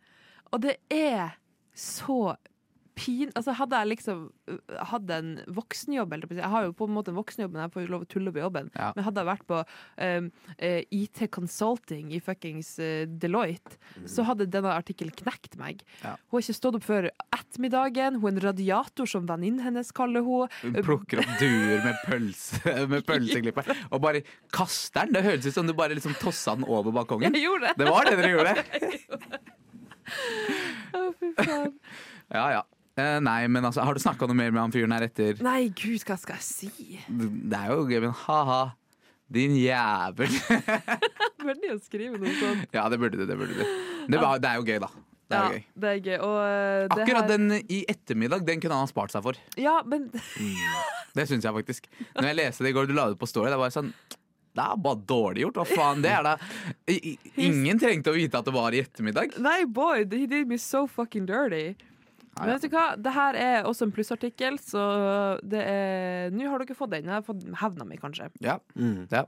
[SPEAKER 5] Og det er så pin... Altså, hadde jeg liksom øh, hatt en voksenjobb eller, Jeg har jo på en måte en voksenjobb, men jeg får jo lov å tulle på jobben.
[SPEAKER 1] Ja.
[SPEAKER 5] Men hadde jeg vært på øhm, eh, IT Consulting i fuckings eh, Deloitte, så hadde denne artikkelen knekt meg.
[SPEAKER 1] Mhm. Ja.
[SPEAKER 5] Hun har ikke stått opp før ettermiddagen. Hun er en radiator, som venninnen hennes kaller hun.
[SPEAKER 1] Hun plukker opp duer med, pølse, med pølseklippet og bare kaster den. Det høres ut som du bare liksom tossa den over balkongen.
[SPEAKER 5] Jeg gjorde det!
[SPEAKER 1] Det var det dere gjorde.
[SPEAKER 5] Å, fy faen.
[SPEAKER 1] Ja, ja. Eh, nei, men altså, har du snakka noe mer med han fyren her etter?
[SPEAKER 5] Nei, gud, hva skal jeg si?
[SPEAKER 1] Det er jo gøy, men ha-ha. Din jævel.
[SPEAKER 5] Veldig å skrive noe sånt.
[SPEAKER 1] Ja, det burde du. Det burde du. Det, var, det er jo gøy, da. Det er
[SPEAKER 5] Ja,
[SPEAKER 1] jo gøy.
[SPEAKER 5] det er gøy. Og, eh, det
[SPEAKER 1] Akkurat
[SPEAKER 5] her-
[SPEAKER 1] den i ettermiddag, den kunne han ha spart seg for.
[SPEAKER 5] Ja, men
[SPEAKER 1] Det syns jeg faktisk. Når jeg leste det i går, du la det på story, det var sånn Det er bare dårlig gjort. Hva faen, det er da I- i- Ingen trengte å vite at det var i ettermiddag.
[SPEAKER 5] Nei, boy, he did me so fucking dirty. Men vet du hva, det her er også en plussartikkel, så det er Nå har dere fått den. Jeg har fått hevna mi, kanskje.
[SPEAKER 1] Ja. ja.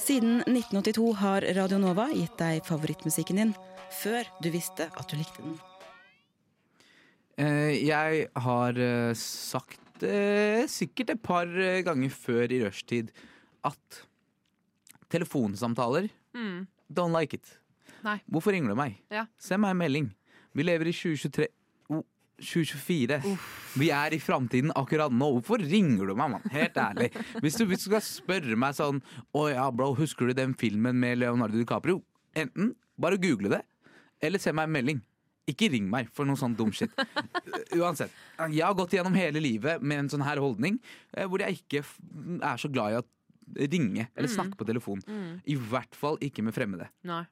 [SPEAKER 8] Siden 1982 har Radio Nova gitt deg favorittmusikken din før du visste at du likte den.
[SPEAKER 1] Eh, jeg har eh, sagt eh, sikkert et par eh, ganger før i rushtid at telefonsamtaler Don't like it.
[SPEAKER 5] Nei.
[SPEAKER 1] Hvorfor ringer du meg?
[SPEAKER 5] Ja.
[SPEAKER 1] Send meg en melding. Vi lever i 2023 oh, 2024. Vi er i framtiden akkurat nå. Hvorfor ringer du meg, mann? Helt ærlig. Hvis du, hvis du skal spørre meg sånn Å ja, bro, husker du den filmen med Leonardo DiCaprio? Enten bare google det, eller send meg en melding. Ikke ring meg for noe sånn dum shit. Uansett. Jeg har gått gjennom hele livet med en sånn her holdning, eh, hvor jeg ikke f- er så glad i å ringe
[SPEAKER 5] Mm.
[SPEAKER 1] eller snakke på telefon. I hvert fall ikke med fremmede.
[SPEAKER 5] Nei.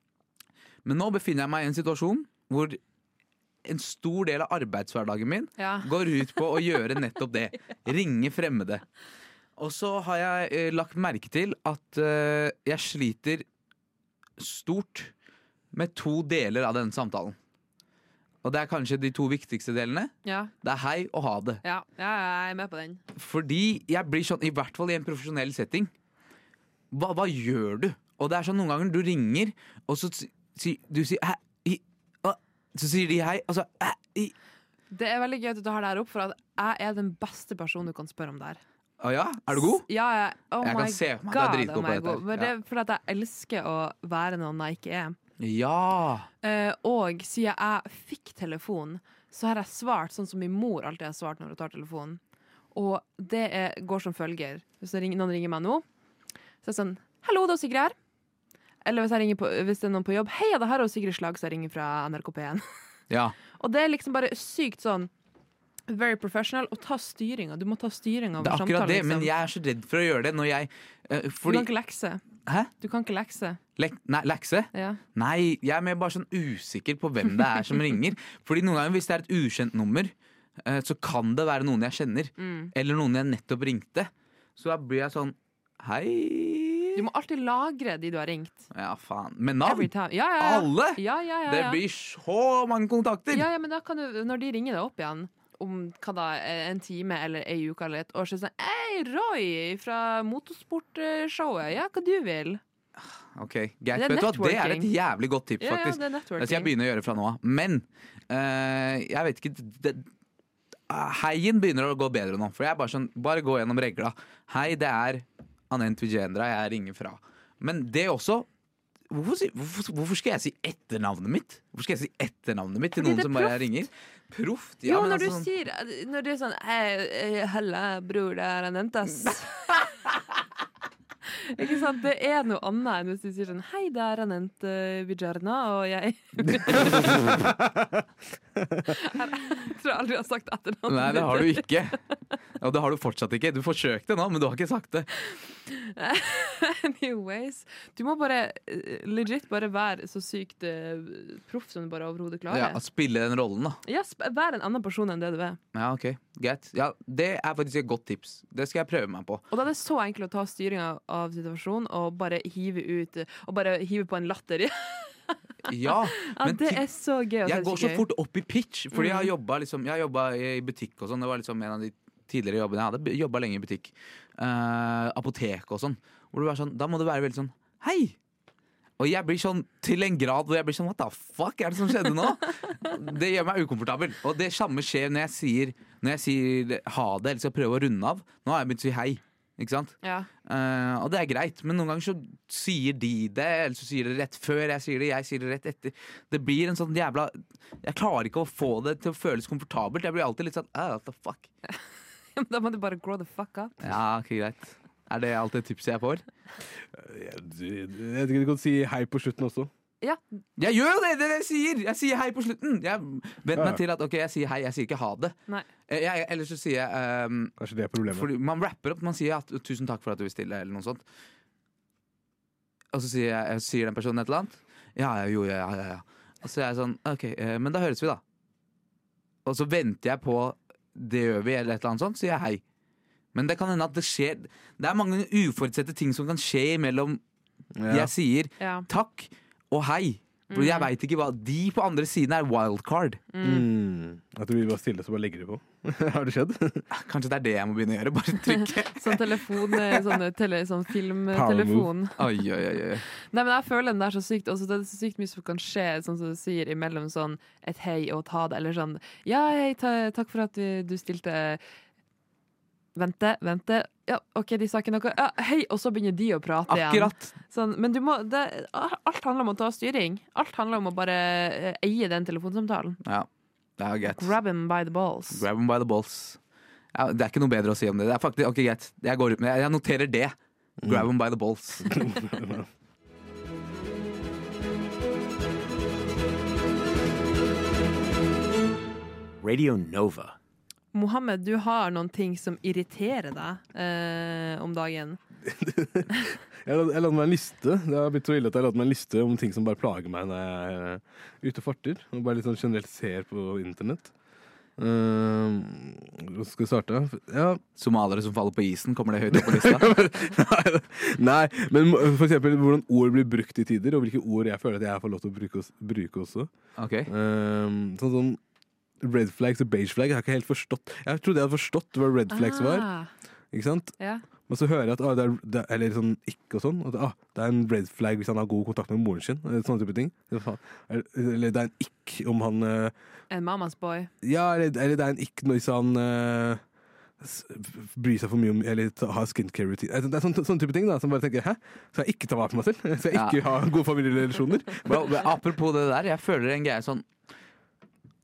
[SPEAKER 1] Men nå befinner jeg meg i en situasjon hvor en stor del av arbeidshverdagen min
[SPEAKER 5] Ja.
[SPEAKER 1] går ut på å gjøre nettopp det. Ringe fremmede. Og så har jeg eh, lagt merke til at eh, jeg sliter stort med to deler av denne samtalen. Og det er kanskje de to viktigste delene.
[SPEAKER 5] Ja,
[SPEAKER 1] Det er hei og ha det.
[SPEAKER 5] ja, ja jeg er med på den.
[SPEAKER 1] Fordi jeg blir sånn, i hvert fall i en profesjonell setting Hva, hva gjør du? Og det er sånn noen ganger du ringer Og så si, si- du sier hæ, i, å, Så sier de hei Og så hæ, i
[SPEAKER 5] Det er veldig gøy at du tar det her opp, for at jeg er den beste personen du kan spørre om det her.
[SPEAKER 1] Å ja, er du god?
[SPEAKER 5] Ja, jeg, oh
[SPEAKER 1] Jeg kan
[SPEAKER 5] my
[SPEAKER 1] se for meg at du er
[SPEAKER 5] God,
[SPEAKER 1] dritgod
[SPEAKER 5] oh my
[SPEAKER 1] på dette her.
[SPEAKER 5] God. Men det er fordi at jeg elsker å være noen jeg ikke er.
[SPEAKER 1] Ja
[SPEAKER 5] Eh, og siden jeg fikk telefon, så har jeg svart sånn som min mor alltid har svart når hun tar telefonen. Og det er, går som følger. Hvis det ringer, noen ringer meg nå, så er det sånn Hallo, det er Sigrid her. Eller hvis, jeg ringer på, hvis det er noen på jobb. Hei, det her er Sigrid Slag, så jeg ringer fra NRK P1.
[SPEAKER 1] Ja,
[SPEAKER 5] Og det er liksom bare sykt sånn Very professional. Og ta styringa. Du må ta styringa
[SPEAKER 1] det
[SPEAKER 5] over
[SPEAKER 1] er
[SPEAKER 5] samtalen.
[SPEAKER 1] akkurat det
[SPEAKER 5] liksom.
[SPEAKER 1] Men jeg er så redd for å gjøre det når jeg eh,
[SPEAKER 5] Du
[SPEAKER 1] Fordi
[SPEAKER 5] kan ikke lekse.
[SPEAKER 1] Hæ?
[SPEAKER 5] Du kan ikke lekse.
[SPEAKER 1] Lek, nei, lekse?
[SPEAKER 5] Ja.
[SPEAKER 1] Nei, jeg er mer bare sånn usikker på hvem det er som ringer. Fordi noen ganger hvis det er et ukjent nummer, eh, så kan det være noen jeg kjenner.
[SPEAKER 5] Mm.
[SPEAKER 1] Eller noen jeg nettopp ringte. Så da blir jeg sånn Hei
[SPEAKER 5] Du må alltid lagre de du har ringt.
[SPEAKER 1] Ja, faen. Med
[SPEAKER 5] Every
[SPEAKER 1] navn?
[SPEAKER 5] time. Ja, ja, ja.
[SPEAKER 1] Alle?
[SPEAKER 5] Ja, ja, ja,
[SPEAKER 1] Det
[SPEAKER 5] ja.
[SPEAKER 1] blir så mange kontakter!
[SPEAKER 5] Ja, ja, men da kan du, når de ringer deg opp igjen om hva da, en time eller ei uke eller et år, så er det sånn Hei, Roy fra motorsportshowet, ja, hva du vil?
[SPEAKER 1] Ok, greit.
[SPEAKER 5] Det er
[SPEAKER 1] Vet du hva, det er et
[SPEAKER 5] networking.
[SPEAKER 1] jævlig godt tips,
[SPEAKER 5] Ja, ja,
[SPEAKER 1] faktisk.
[SPEAKER 5] det er
[SPEAKER 1] Det skal jeg
[SPEAKER 5] networking.
[SPEAKER 1] begynne å gjøre fra nå av. Men eh, jeg vet ikke det, Heien begynner å gå bedre nå. For jeg er bare sånn, bare gå gjennom regla. Hei, det er Anent Vijendra jeg ringer fra. Men det også Hvorfor, si- hvorfor, hvorfor skal jeg si etternavnet mitt? Hvorfor skal jeg si etternavnet mitt til
[SPEAKER 5] Fordi
[SPEAKER 1] noen
[SPEAKER 5] det er
[SPEAKER 1] som bare
[SPEAKER 5] proft.
[SPEAKER 1] ringer? Proft? Ja,
[SPEAKER 5] Jo,
[SPEAKER 1] men
[SPEAKER 5] når du
[SPEAKER 1] altså sånn-
[SPEAKER 5] sier Når du er sånn Hei, helle, bror, det er Anentas. Ikke sant? Det er noe annet enn hvis du sier sånn Hei, det er Anent eh, Vijarna, og jeg Jeg tror jeg aldri jeg har sagt etternavnet
[SPEAKER 1] Nei, det har du ikke. Og det har du fortsatt ikke. Du forsøkte nå, men du har ikke sagt det.
[SPEAKER 5] Anyways, du må bare eh, legit bare være så sykt eh, proff som du bare overhodet
[SPEAKER 1] Ja, altså-
[SPEAKER 5] klarer. Ja,
[SPEAKER 1] å spille den rollen, da.
[SPEAKER 5] sp- vær en annen person enn det du er.
[SPEAKER 1] Ja, ok, greit ja, Det er faktisk et godt tips. Det skal jeg prøve meg på.
[SPEAKER 5] Og da er det så enkelt å ta styringa av situasjonen og bare hive ut eh, Og bare hive på en latter. ja,
[SPEAKER 1] Ja, men
[SPEAKER 5] det
[SPEAKER 1] ti-
[SPEAKER 5] er så gøy. og
[SPEAKER 1] jeg
[SPEAKER 5] det er
[SPEAKER 1] går så
[SPEAKER 5] gøy. Mm.
[SPEAKER 1] fort opp i pitch, fordi jeg har jobba liksom, jeg har jobbet i butikk og sånn. Det var liksom en av de tidligere jobbene jeg hadde. Jobba lenge i butikk. eh, apoteket og sånn. Hvor du er sånn, da må du være veldig sånn Hei! Og jeg blir sånn til en grad hvor jeg blir sånn What the fuck er det som skjedde nå? Det gjør meg ukomfortabel. Og det samme skjer når jeg sier, når jeg sier ha det, eller skal prøve å runde av. Nå har jeg begynt å si hei. Ikke sant?
[SPEAKER 5] Ja.
[SPEAKER 1] Eh, og det er greit, men noen ganger så sier de det, eller så sier de det rett før jeg sier det, jeg sier det rett etter. Det blir en sånn jævla Jeg klarer ikke å få det til å føles komfortabelt. Jeg blir alltid litt sånn «Ah, what the fuck.
[SPEAKER 5] Da må du bare grow the fuck up.
[SPEAKER 1] Ja, ok, greit. Er det alltid tipset jeg får?
[SPEAKER 6] Jeg, jeg, jeg, jeg kan si hei på slutten også.
[SPEAKER 5] Ja,
[SPEAKER 1] Jeg gjør jo det! det er det jeg sier! Jeg sier hei på slutten. Jeg vent
[SPEAKER 6] Ja, ja.
[SPEAKER 1] meg til at ok, jeg sier hei, jeg sier ikke ha det.
[SPEAKER 5] Nei.
[SPEAKER 1] Eh, Jeg, ellers så sier jeg ehm,
[SPEAKER 6] Kanskje det er problemet.
[SPEAKER 1] Fordi man rapper opp, man sier at 'tusen takk for at du vil stille', eller noe sånt. Og så sier, jeg, sier den personen et eller annet. Ja, ja, jo, ja, ja, ja. Og så er jeg sånn, ok, eh, men da høres vi, da. Og så venter jeg på 'det gjør vi', eller et eller annet sånt, så sier jeg hei. Men det kan hende at det skjer Det er mange uforutsette ting som kan skje imellom
[SPEAKER 6] ja.
[SPEAKER 1] jeg sier
[SPEAKER 5] ja.
[SPEAKER 1] takk og hei.
[SPEAKER 5] Mm.
[SPEAKER 1] For jeg veit ikke hva De på andre siden er wildcard.
[SPEAKER 6] mm. Jeg tror vi bare stiller så bare legger det på. har det skjedd?
[SPEAKER 1] Kanskje det er det jeg må begynne å gjøre. Bare trykke.
[SPEAKER 5] Sånn telefon, eh, sånn, eh, tele, sånn
[SPEAKER 6] Power
[SPEAKER 5] filmtelefon.
[SPEAKER 1] Oi, oi, oi, oi.
[SPEAKER 5] Nei, men jeg føler den der så sykt Og så det er så sykt mye som kan skje Sånn som du sier imellom sånn Et hei og ta det Eller sånn Ja, hei, ta, takk for at du, du stilte Vente, vente Ja, ok, de sa ikke noe Ja, hei, og så begynner de å prate igjen
[SPEAKER 1] Akkurat.
[SPEAKER 5] sånn, Men du må det, Alt handler om å ta styring Alt handler om å bare eh, eie den telefonsamtalen
[SPEAKER 1] Ja, det er greit.
[SPEAKER 5] Grab him by the balls
[SPEAKER 1] Grab them by the balls. Ja, det er ikke noe bedre å si om det. det er faktisk, ok, greit. Jeg går ut med Jeg noterer det. Grab them by the balls.
[SPEAKER 9] Radio Nova.
[SPEAKER 5] Mohammed, du har noen ting som irriterer deg eh, Om dagen
[SPEAKER 6] Jeg la- jeg lagde meg en liste. Det har blitt så ille at jeg lagde meg en liste om ting som bare plager meg når jeg er eh, ute og farter. Og bare litt sånn generelt ser på internett. Ehm, Hvor skal vi starte? Ja,
[SPEAKER 1] Somaliere som faller på isen, kommer det høyt opp på lista?
[SPEAKER 6] nei, nei, men må- for eksempel hvordan ord blir brukt i tider, og hvilke ord jeg føler at jeg får lov til å bruke, os- bruke også.
[SPEAKER 1] Ok,
[SPEAKER 6] Ehm, sånn sånn red flags og beige flag. Jeg har ikke helt forstått Jeg trodde jeg hadde forstått hva red flags var.
[SPEAKER 5] Ah,
[SPEAKER 6] Ikke sant?
[SPEAKER 5] ja.
[SPEAKER 6] Men så hører jeg at ah, det er, det, er- Eller sånn ikke og sånn. At, ah, det er en red flag hvis han har god kontakt med moren sin. Eller sånne type ting. Eller faen, Eller eller det er en ikk om han eh,
[SPEAKER 5] En mamas boy
[SPEAKER 6] Ja, eller, eller det er en ikk hvis han eh, s- bryr seg for mye om Eller ta- har skincare routine. Eh, Det er sånne, sånne type ting da som bare tenker Hæ? Skal jeg ikke ta vare på meg selv? Skal jeg ikke ha gode familierelasjoner?
[SPEAKER 1] Bro, men Apropos det der, jeg føler en greie sånn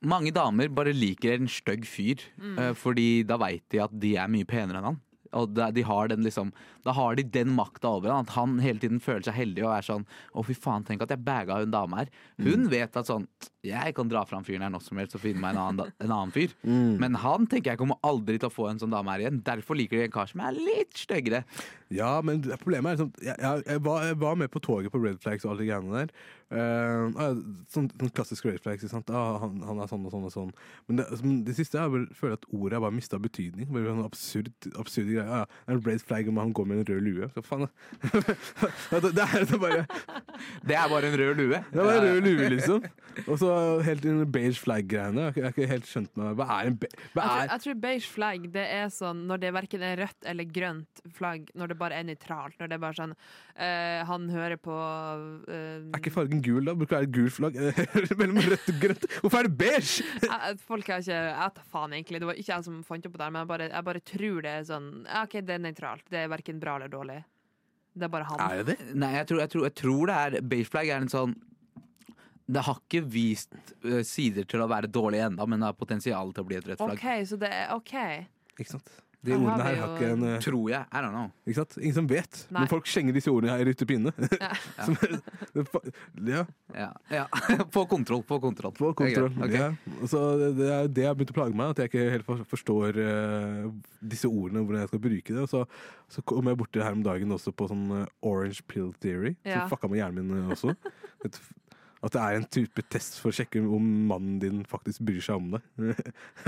[SPEAKER 1] Mange damer bare liker en stygg fyr,
[SPEAKER 6] Mm.
[SPEAKER 1] eh, fordi da veit de at de er mye penere enn han. Og da, de har den liksom, da har de den makta over han, at han hele tiden føler seg heldig og er sånn Å, fy faen, tenk at jeg baga hun dama her.
[SPEAKER 6] Mm.
[SPEAKER 1] Hun vet at sånn Jeg kan dra fram fyren her når som helst og finne meg en annen, da- en annen fyr.
[SPEAKER 6] Mm.
[SPEAKER 1] Men han tenker jeg kommer aldri til å få en sånn dame her igjen. Derfor liker de en kar som er litt styggere.
[SPEAKER 6] Ja, men det- problemet er liksom jeg, jeg, jeg, var, jeg var med på toget på Red Flags og alle de greiene der. Eh, ah, sånn, sånn klassisk Red Flags. Ikke sant? Ah, han, han er sånn og sånn og sånn. Men det, som, det siste er bare- jeg føler at ordet har bare mista betydning. Bare sånn absurd, absurd greie. Ah, ja, en red flag om han går med en rød lue. Så faen, da. det, det er det bare
[SPEAKER 1] Det er bare en rød lue.
[SPEAKER 6] det var en rød lue, liksom. Og så helt den beige flag-greiene. Jeg har ikke- jeg har ikke helt skjønt meg. Hva er en be hva
[SPEAKER 5] Jeg tror,
[SPEAKER 6] er,
[SPEAKER 5] jeg tror beige flagg det er sånn når det verken er rødt eller grønt flagg, når det bare er nøytralt. Når det er bare sånn eh, Han hører på eh,
[SPEAKER 6] er ikke fargen gul, da? Bruker det være gult flagg eh, mellom rødt og grønt? Hvorfor er det beige?
[SPEAKER 5] jeg, Folk er ikke Jeg tar faen, egentlig. Det var ikke jeg som fant opp det, her, men jeg bare, jeg bare tror det er sånn ja, OK, det er nøytralt. Det er verken bra eller dårlig. Det er bare han.
[SPEAKER 6] Er det det?
[SPEAKER 1] Nei, jeg tror, jeg tror, jeg tror det er Beige flag er en sånn Det har ikke vist eh, sider til å være dårlig ennå, men det har potensial til å bli et rødt flagg.
[SPEAKER 5] OK, så det er OK.
[SPEAKER 6] Ikke sant? De
[SPEAKER 5] Her har vi
[SPEAKER 6] ordene her
[SPEAKER 5] jo-
[SPEAKER 6] har ikke en eh,
[SPEAKER 1] Tror jeg. I don't know.
[SPEAKER 6] Ikke sant? Ingen som vet.
[SPEAKER 5] Nei.
[SPEAKER 6] Men folk slenger disse ordene her ut i pinne. Som- det fa- ja,
[SPEAKER 1] Ja. ja. Få kontroll, få kontroll.
[SPEAKER 6] få kontroll.
[SPEAKER 1] Ok, ok.
[SPEAKER 6] Ja. Og Så det, det er det har begynt å plage meg, at jeg ikke helt for- forstår eh, disse ordene, hvordan jeg skal bruke det. Og så, så kom jeg borti det her om dagen også på sånn eh, orange pill theory,
[SPEAKER 5] Ja.
[SPEAKER 6] som fucka med hjernen min eh, også. Et, at det er en type test for å sjekke om mannen din faktisk bryr seg om deg.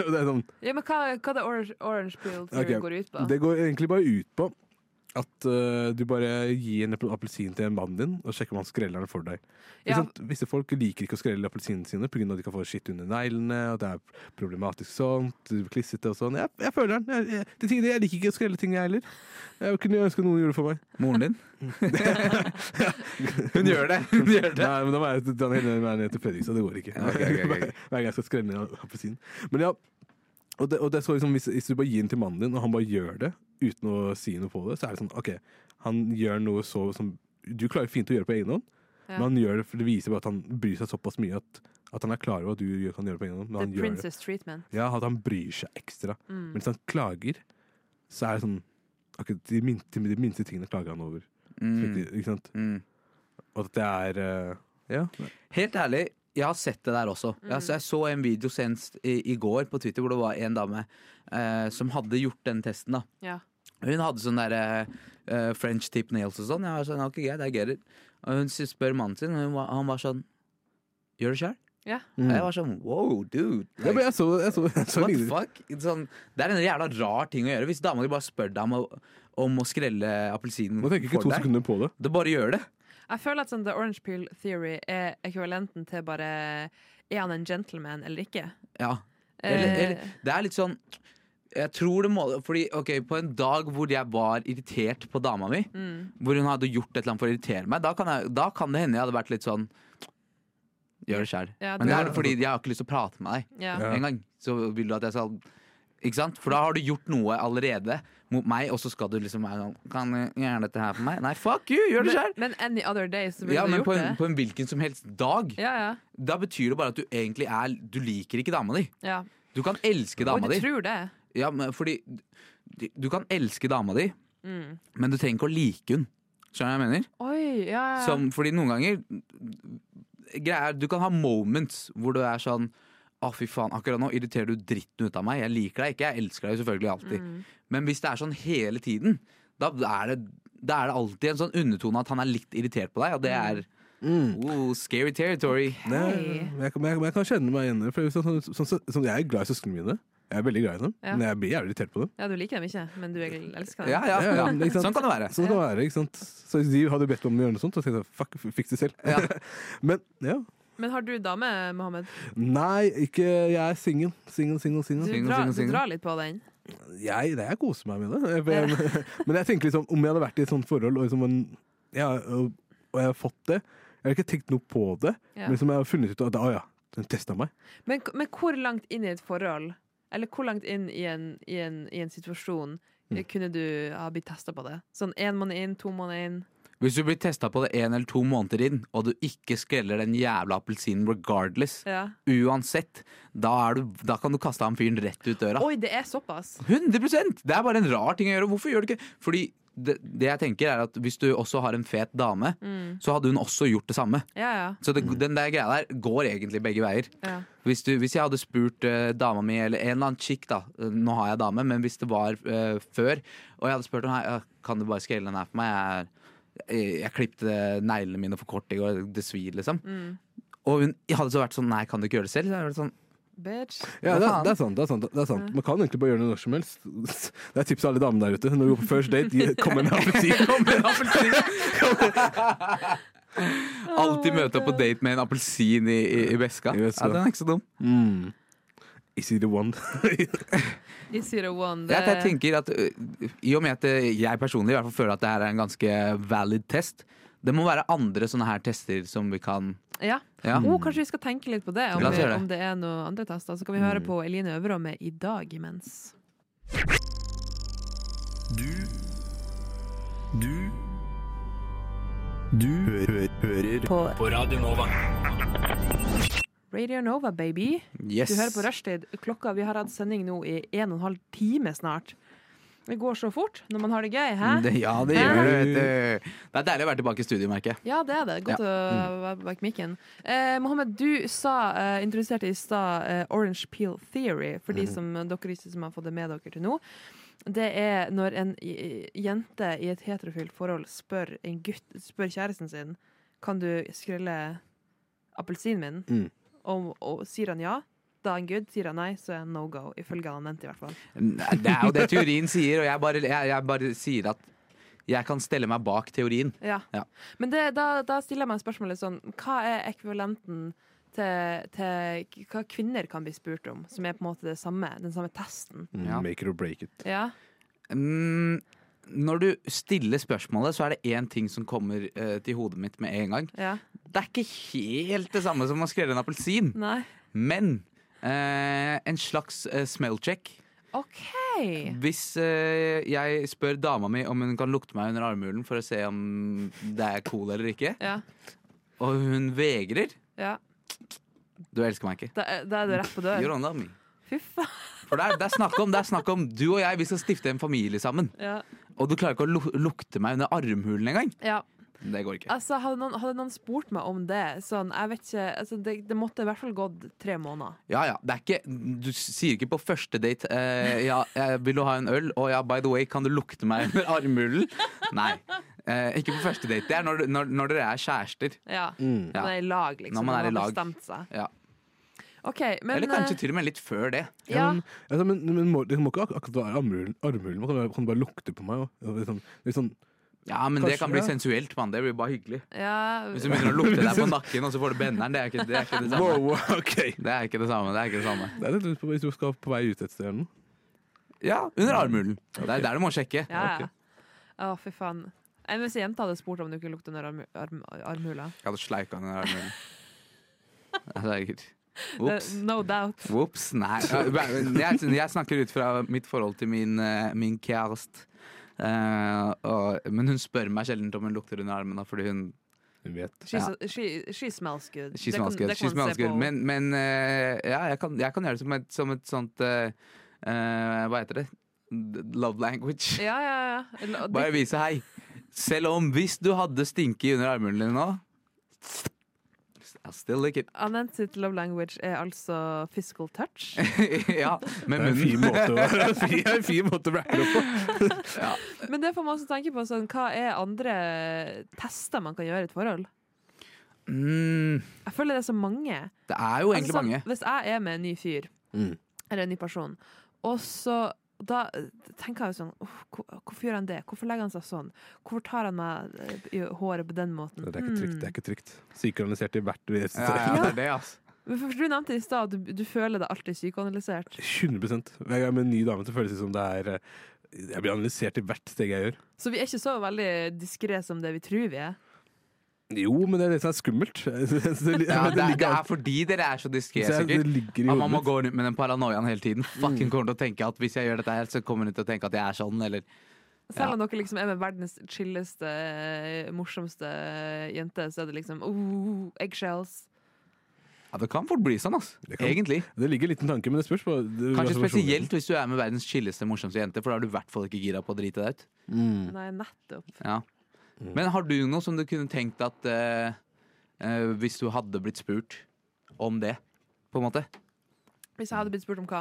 [SPEAKER 6] Og det er sånn
[SPEAKER 5] Ja, men hva, hva det orange, orange peel theory
[SPEAKER 6] Ok,
[SPEAKER 5] går ut på?
[SPEAKER 6] Det går egentlig bare ut på at eh, du bare gir en apel- appelsin til mannen din, og sjekker om han skreller den for deg. Ikke
[SPEAKER 5] Ja.
[SPEAKER 6] sant? Visse folk liker ikke å skrelle appelsinene sine pga. at de kan få skitt under neglene, og det er problematisk sånt, klissete og sånn. Jeg, jeg føler den. Jeg, jeg, til tider, jeg liker ikke å skrelle ting, jeg heller. Jeg kunne ønske noen gjorde det for meg.
[SPEAKER 1] Moren din? Hun gjør det! Hun gjør det.
[SPEAKER 6] Nei, men da må jeg da må jeg være ned til Fredrikstad. Det går ikke.
[SPEAKER 1] Ja, ok, ok, ok.
[SPEAKER 6] Hver gang jeg skal skrelle ned appelsinen. Men ja, og det, og det er så liksom, hvis, hvis du bare gir den til mannen din, og han bare gjør det uten å si noe på det, så er det sånn OK, han gjør noe så som Du klarer fint å gjøre på egen hånd,
[SPEAKER 5] Ja.
[SPEAKER 6] men han gjør det for det viser bare at han bryr seg såpass mye at, at han er klar over at du gjør- kan gjøre det på egen hånd. Men
[SPEAKER 5] The
[SPEAKER 6] han gjør det.
[SPEAKER 5] princess Mm. treatment.
[SPEAKER 6] Ja, at han bryr seg ekstra. Men hvis han klager, så er det sånn akkurat de, minste, de minste tingene klager han over.
[SPEAKER 1] Mm,
[SPEAKER 6] Ikke sant?
[SPEAKER 1] mm.
[SPEAKER 6] Og at det er eh, Ja.
[SPEAKER 1] Helt ærlig, jeg har sett det der også.
[SPEAKER 5] Mm.
[SPEAKER 1] Jeg, jeg så en video senest i, i går på Twitter hvor det var en dame eh, som hadde gjort den testen. da
[SPEAKER 5] Ja.
[SPEAKER 1] Hun hadde sånn der eh, eh, French tip nails og sånn. Jeg var sånn, ok, greit, jeg get it. Og hun s- spør mannen sin, og hun var, han var sånn Gjør det sjøl?
[SPEAKER 5] Ja.
[SPEAKER 1] Og Jeg var sånn wow, dude.
[SPEAKER 6] Mm. Ja, men jeg så, jeg så, jeg så
[SPEAKER 1] What the
[SPEAKER 6] lignende.
[SPEAKER 1] fuck? Sånn, det er en jævla rar ting å gjøre. Hvis dama di bare spør deg om å, om å skrelle appelsinen
[SPEAKER 6] Man tenker ikke
[SPEAKER 1] for
[SPEAKER 6] to
[SPEAKER 1] deg,
[SPEAKER 6] sekunder på det.
[SPEAKER 1] da bare gjør det.
[SPEAKER 5] Jeg føler at sånn, The Orange Peel Theory er ekvivalenten til bare Er han en gentleman eller ikke?
[SPEAKER 1] Ja. Eller,
[SPEAKER 5] Eh,
[SPEAKER 1] eller, det er litt sånn jeg tror det må, fordi ok, På en dag hvor jeg var irritert på dama mi,
[SPEAKER 5] Mm.
[SPEAKER 1] hvor hun hadde gjort et eller annet for å irritere meg, da kan, jeg, da kan det hende jeg hadde vært litt sånn Gjør det sjæl.
[SPEAKER 5] Ja,
[SPEAKER 1] Men det
[SPEAKER 5] det-
[SPEAKER 1] er fordi jeg har ikke lyst til å prate med deg
[SPEAKER 5] ja.
[SPEAKER 6] Ja.
[SPEAKER 1] engang. Så vil du at jeg skal Ikke sant? For da har du gjort noe allerede mot meg, og så skal du liksom være sånn Kan du gjøre dette her for meg? Nei, fuck you! Gjør det
[SPEAKER 5] Men,
[SPEAKER 1] sjæl!
[SPEAKER 5] men any other day så ville
[SPEAKER 1] Ja,
[SPEAKER 5] du
[SPEAKER 1] men
[SPEAKER 5] gjort
[SPEAKER 1] på en,
[SPEAKER 5] det.
[SPEAKER 1] på en hvilken som helst dag.
[SPEAKER 5] Ja, ja,
[SPEAKER 1] Da betyr det bare at du egentlig er Du liker ikke dama di.
[SPEAKER 5] ja.
[SPEAKER 1] Du kan elske
[SPEAKER 5] Og
[SPEAKER 1] dama
[SPEAKER 5] du
[SPEAKER 1] di.
[SPEAKER 5] tror det.
[SPEAKER 1] Ja, men fordi du- Du kan elske dama di, men du trenger ikke å like hun. Skjønner du hva jeg mener?
[SPEAKER 5] Oi, ja, ja.
[SPEAKER 1] Som, fordi noen ganger greier, Du kan ha moments hvor du er sånn Å, fy faen, akkurat nå irriterer du dritten ut av meg. Jeg liker deg ikke, jeg elsker deg jo selvfølgelig alltid. Men hvis det er sånn hele tiden, da er det, da er det alltid en sånn undertone at han er litt irritert på deg, og det er oh, scary territory.
[SPEAKER 6] Nei, men jeg, kan- men jeg, men jeg kan kjenne meg igjen i det. For sånn, sånn, sånn, sånn, jeg er glad i søsknene mine. Jeg er veldig glad i dem,
[SPEAKER 5] Ja.
[SPEAKER 6] men jeg blir jævlig irritert på dem.
[SPEAKER 5] Ja, du liker dem ikke, men du elsker dem.
[SPEAKER 1] Ja, ja,
[SPEAKER 6] Ja,
[SPEAKER 1] ja.
[SPEAKER 6] ja, men ikke sant?
[SPEAKER 1] Sånn kan det være.
[SPEAKER 6] Sånn kan det være, ikke sant? Så hvis de hadde bedt om å gjøre noe sånt, så tenkte jeg fuck, fiks det selv.
[SPEAKER 1] Ja.
[SPEAKER 6] men ja.
[SPEAKER 5] Men har du dame, Mohammed?
[SPEAKER 6] Nei, ikke Jeg er singel. Singel, singel,
[SPEAKER 5] Du,
[SPEAKER 6] singel.
[SPEAKER 1] Single,
[SPEAKER 5] drar,
[SPEAKER 1] single,
[SPEAKER 5] du
[SPEAKER 1] single.
[SPEAKER 5] drar litt på den.
[SPEAKER 6] Jeg, nei, jeg koser meg med det. Jeg, men jeg tenker liksom, om jeg hadde vært i et sånt forhold, og, liksom en, ja, og, og jeg har fått det Jeg har ikke tenkt noe på det,
[SPEAKER 5] Ja.
[SPEAKER 6] men liksom jeg har funnet ut at å ja, den testa meg.
[SPEAKER 5] Men, men hvor langt inn i et forhold, eller hvor langt inn i en, i en, i en situasjon,
[SPEAKER 1] Mm.
[SPEAKER 5] eh, kunne du ha blitt testa på det? Sånn én måned inn, to måneder inn?
[SPEAKER 1] Hvis du blir testa på det en eller to måneder inn, og du ikke skreller den jævla appelsinen regardless,
[SPEAKER 5] Ja.
[SPEAKER 1] uansett, da, er du, da kan du kaste han fyren rett ut døra.
[SPEAKER 5] Oi, det er såpass!
[SPEAKER 1] 100 Det er bare en rar ting å gjøre. Hvorfor gjør du ikke Fordi det, det jeg tenker er at hvis du også har en fet dame, så hadde hun også gjort det samme.
[SPEAKER 5] Ja, ja.
[SPEAKER 1] Så det, den der greia der går egentlig begge veier.
[SPEAKER 5] ja.
[SPEAKER 1] Hvis, du, hvis jeg hadde spurt eh, dama mi, eller en eller annen chick da eh, Nå har jeg dame, men hvis det var eh, før, og jeg hadde spurt henne «Hei, eh, Kan du bare skrelle den her for meg, jeg, jeg, jeg klippte neglene mine for kort i går, det svir, liksom.
[SPEAKER 5] Mm.
[SPEAKER 1] Og hun hadde så vært sånn Nei, kan du ikke gjøre det selv? Så hadde jeg vært sånn,
[SPEAKER 5] Bitch.
[SPEAKER 6] Ja,
[SPEAKER 1] Hva
[SPEAKER 6] det,
[SPEAKER 1] faen?
[SPEAKER 6] det er sant. det er sant, det er sant. Man kan egentlig bare gjøre det når som helst. Det er tips til alle damene der ute. Når du går på first date, gi- kom med en appelsin.
[SPEAKER 1] Kom med en appelsin! Alltid møte opp på date med en appelsin i, i, i veska.
[SPEAKER 6] I veska.
[SPEAKER 1] Ja, den er ikke så dum.
[SPEAKER 6] Mm. Is he the one?
[SPEAKER 5] I zero one.
[SPEAKER 1] Jeg, jeg tenker at ø, I og med at ø, jeg personlig i hvert fall føler at det her er en ganske valid test, det må være andre sånne her tester som vi kan
[SPEAKER 5] Ja.
[SPEAKER 1] Ja.
[SPEAKER 5] Oh, kanskje vi skal tenke litt på det, om,
[SPEAKER 1] La oss
[SPEAKER 5] vi,
[SPEAKER 1] gjøre det. Mm.
[SPEAKER 5] om det er noen andre tester. Så kan vi høre på Eline Øvre med I dag imens.
[SPEAKER 9] På Radio Nova.
[SPEAKER 5] Radio Nova, baby.
[SPEAKER 1] Yes.
[SPEAKER 5] Du hører på Rushtid. Klokka, vi har hatt sending nå i en og en halv time snart. Det går så fort når man har det gøy, hæ?
[SPEAKER 1] Mm, Det, ja, det gjør det. vet du. Det er deilig å være tilbake i studio, merker jeg.
[SPEAKER 5] Ja, det er det. Godt å være bak mikken. Eh, Mohammed, du sa, eh, introduserte i stad eh, Orange Peel Theory, for de som eh, dere ikke som har fått det med dere til nå. Det er når en i- jente i et heterofilt forhold spør en gutt, spør kjæresten sin Kan du skrelle appelsinen min,
[SPEAKER 6] Mm.
[SPEAKER 5] og, og sier han ja. Da er han good, sier han nei, så er han no go. Ifølge han mente, i hvert fall.
[SPEAKER 1] Nei, Det er jo det teorien sier, og jeg bare, jeg, jeg bare sier at Jeg kan stelle meg bak teorien.
[SPEAKER 5] Ja.
[SPEAKER 1] Ja.
[SPEAKER 5] Men det, da, da stiller jeg meg spørsmålet sånn Hva er ekvivalenten til, til k- hva kvinner kan bli spurt om, som er på en måte det samme, den samme testen?
[SPEAKER 1] Ja.
[SPEAKER 6] Mm, Make it or break it.
[SPEAKER 5] Ja,
[SPEAKER 1] Mm, når du stiller spørsmålet, så er det én ting som kommer eh, til hodet mitt med en gang.
[SPEAKER 5] ja,
[SPEAKER 1] Det er ikke helt det samme som å skrelle en appelsin,
[SPEAKER 5] nei
[SPEAKER 1] men eh, en slags eh, smell check.
[SPEAKER 5] OK!
[SPEAKER 1] Hvis eh, jeg spør dama mi om hun kan lukte meg under armhulen for å se om det er cool eller ikke,
[SPEAKER 5] Ja,
[SPEAKER 1] og hun vegrer
[SPEAKER 5] ja.
[SPEAKER 1] Du elsker meg ikke.
[SPEAKER 5] Da, er- da er du rett på
[SPEAKER 1] You
[SPEAKER 5] dør.
[SPEAKER 1] don't love me.
[SPEAKER 5] Fy faen.
[SPEAKER 1] For det er, det, er snakk om, det er snakk om du og jeg, vi skal stifte en familie sammen.
[SPEAKER 5] Ja.
[SPEAKER 1] Og du klarer ikke å lu lukte meg under armhulen engang.
[SPEAKER 5] ja.
[SPEAKER 1] Det går ikke.
[SPEAKER 5] Altså, hadde noen, hadde noen spurt meg om det, sånn Jeg vet ikke altså, det, det måtte i hvert fall gått tre måneder.
[SPEAKER 1] Ja, ja, det er ikke, Du sier ikke på første date eh, ja, eh, 'Vil du ha en øl?' og ja, 'by the way, kan du lukte meg under armhulen?' Nei. Eh, ikke på første date. Det er når, du- når, når dere er kjærester.
[SPEAKER 5] Ja.
[SPEAKER 1] Ja.
[SPEAKER 5] Man er i lag, liksom.
[SPEAKER 1] Mm. Når man er i
[SPEAKER 5] har
[SPEAKER 1] lag.
[SPEAKER 5] bestemt seg.
[SPEAKER 1] Ja.
[SPEAKER 5] OK, men
[SPEAKER 1] Eller kanskje
[SPEAKER 5] eh,
[SPEAKER 1] til og med litt før det.
[SPEAKER 5] ja.
[SPEAKER 6] men, altså, men, men må, det må ikke ak akkurat være armhulen. armhulen. Man kan bare, kan bare lukte på meg. Og, og liksom, litt sånn,
[SPEAKER 1] Ja, Men det
[SPEAKER 6] Kanskje,
[SPEAKER 1] kan bli
[SPEAKER 6] ja.
[SPEAKER 1] sensuelt, mann. Det blir bare hyggelig.
[SPEAKER 5] ja.
[SPEAKER 1] Hvis du begynner å lukte deg på nakken, og så får du benneren, det er ikke det, er ikke det samme.
[SPEAKER 6] wow, ok!
[SPEAKER 1] Det er ikke det samme. det er ikke det samme
[SPEAKER 6] Det er litt, hvis du skal på vei ut et sted eller noe.
[SPEAKER 1] Ja, under armhulen. Det er der du må sjekke.
[SPEAKER 5] Ja, ja. Å, fy faen. Enn hvis ei jente hadde spurt om du ikke lukter under arm, arm, armhula.
[SPEAKER 1] Jeg hadde sleika den i armen. Herregud.
[SPEAKER 5] Det-
[SPEAKER 1] Ops.
[SPEAKER 5] Eh, No doubt.
[SPEAKER 1] Ops, nei. Jeg, jeg snakker ut fra mitt forhold til min, eh, min kjæreste. Eh, og, men hun spør meg sjelden om hun lukter under armen. da, Fordi hun
[SPEAKER 6] Hun vet.
[SPEAKER 5] She,
[SPEAKER 1] Ja.
[SPEAKER 5] she, she smells good. Det kan-
[SPEAKER 1] skismasker.
[SPEAKER 5] det kan man se på henne.
[SPEAKER 1] Men, men eh, ja, jeg kan, jeg kan gjøre det som et, som et sånt eh, eh, Hva heter det? Love language.
[SPEAKER 5] Ja, ja, ja. La-
[SPEAKER 1] Bare
[SPEAKER 5] Det,
[SPEAKER 1] vise hei. Selv om hvis du hadde stinket under armhulen din nå I still like it.
[SPEAKER 5] Anette sitt love language er altså physical touch.
[SPEAKER 1] ja, med
[SPEAKER 6] Det er en fin
[SPEAKER 1] munnen.
[SPEAKER 6] måte å, det er en fin måte å rappe det opp på.
[SPEAKER 5] Men det får man også tenke på sånn, hva er andre tester man kan gjøre i et forhold?
[SPEAKER 1] Mm,
[SPEAKER 5] Jeg føler det er så mange.
[SPEAKER 1] det er jo
[SPEAKER 5] Altså,
[SPEAKER 1] egentlig
[SPEAKER 5] sånn,
[SPEAKER 1] mange.
[SPEAKER 5] Hvis jeg er med en ny fyr,
[SPEAKER 6] Mm.
[SPEAKER 5] eller en ny person, og så da eh, tenker jeg jo sånn «Åh, hvor- Hvorfor gjør han det? Hvorfor legger han seg sånn? Hvorfor tar han meg eh, i håret på den måten? Mm.
[SPEAKER 6] Det er ikke trygt. det er ikke trygt Synkronisert i hvert eneste
[SPEAKER 1] Ja, ja, det er det, altså.
[SPEAKER 5] Men for Du nevnte i stad at du, du føler deg alltid psykoanalysert.
[SPEAKER 6] 100 Hver gang jeg er med en ny dame, så føles det som det er eh, Jeg blir analysert i hvert steg jeg gjør.
[SPEAKER 5] Så vi er ikke så veldig diskré som det vi tror vi er.
[SPEAKER 6] Jo, men det er det som er skummelt. Det,
[SPEAKER 1] Ja, det, er, det
[SPEAKER 6] ligger
[SPEAKER 1] er fordi dere er så diskré,
[SPEAKER 6] Så jeg- det
[SPEAKER 1] sikkert.
[SPEAKER 6] ligger Mm. i
[SPEAKER 1] At man må
[SPEAKER 6] hodet
[SPEAKER 1] gå rundt med den paranoiaen hele tiden. Fucking kommer til å tenke at Hvis jeg gjør dette her, så kommer hun til å tenke at jeg er sånn, eller
[SPEAKER 5] Selv
[SPEAKER 1] Ja.
[SPEAKER 5] om dere liksom er med verdens chilleste, eh, morsomste jente, så er det liksom oh, eggshells.
[SPEAKER 1] Ja, det kan fort bli sånn, altså.
[SPEAKER 6] Det kan.
[SPEAKER 1] Egentlig.
[SPEAKER 6] Det ligger en liten tanke, men det spørs på det,
[SPEAKER 1] Kanskje
[SPEAKER 6] hva som er
[SPEAKER 1] spesielt hvis du er med verdens chilleste, morsomste jente, for da er du i hvert fall ikke gira på å drite deg ut.
[SPEAKER 6] personlig.
[SPEAKER 5] Nei, nettopp.
[SPEAKER 1] Ja. Men har du noe som du kunne tenkt at eh, eh, Hvis du hadde blitt spurt om det, på en måte?
[SPEAKER 5] Hvis jeg hadde blitt spurt om hva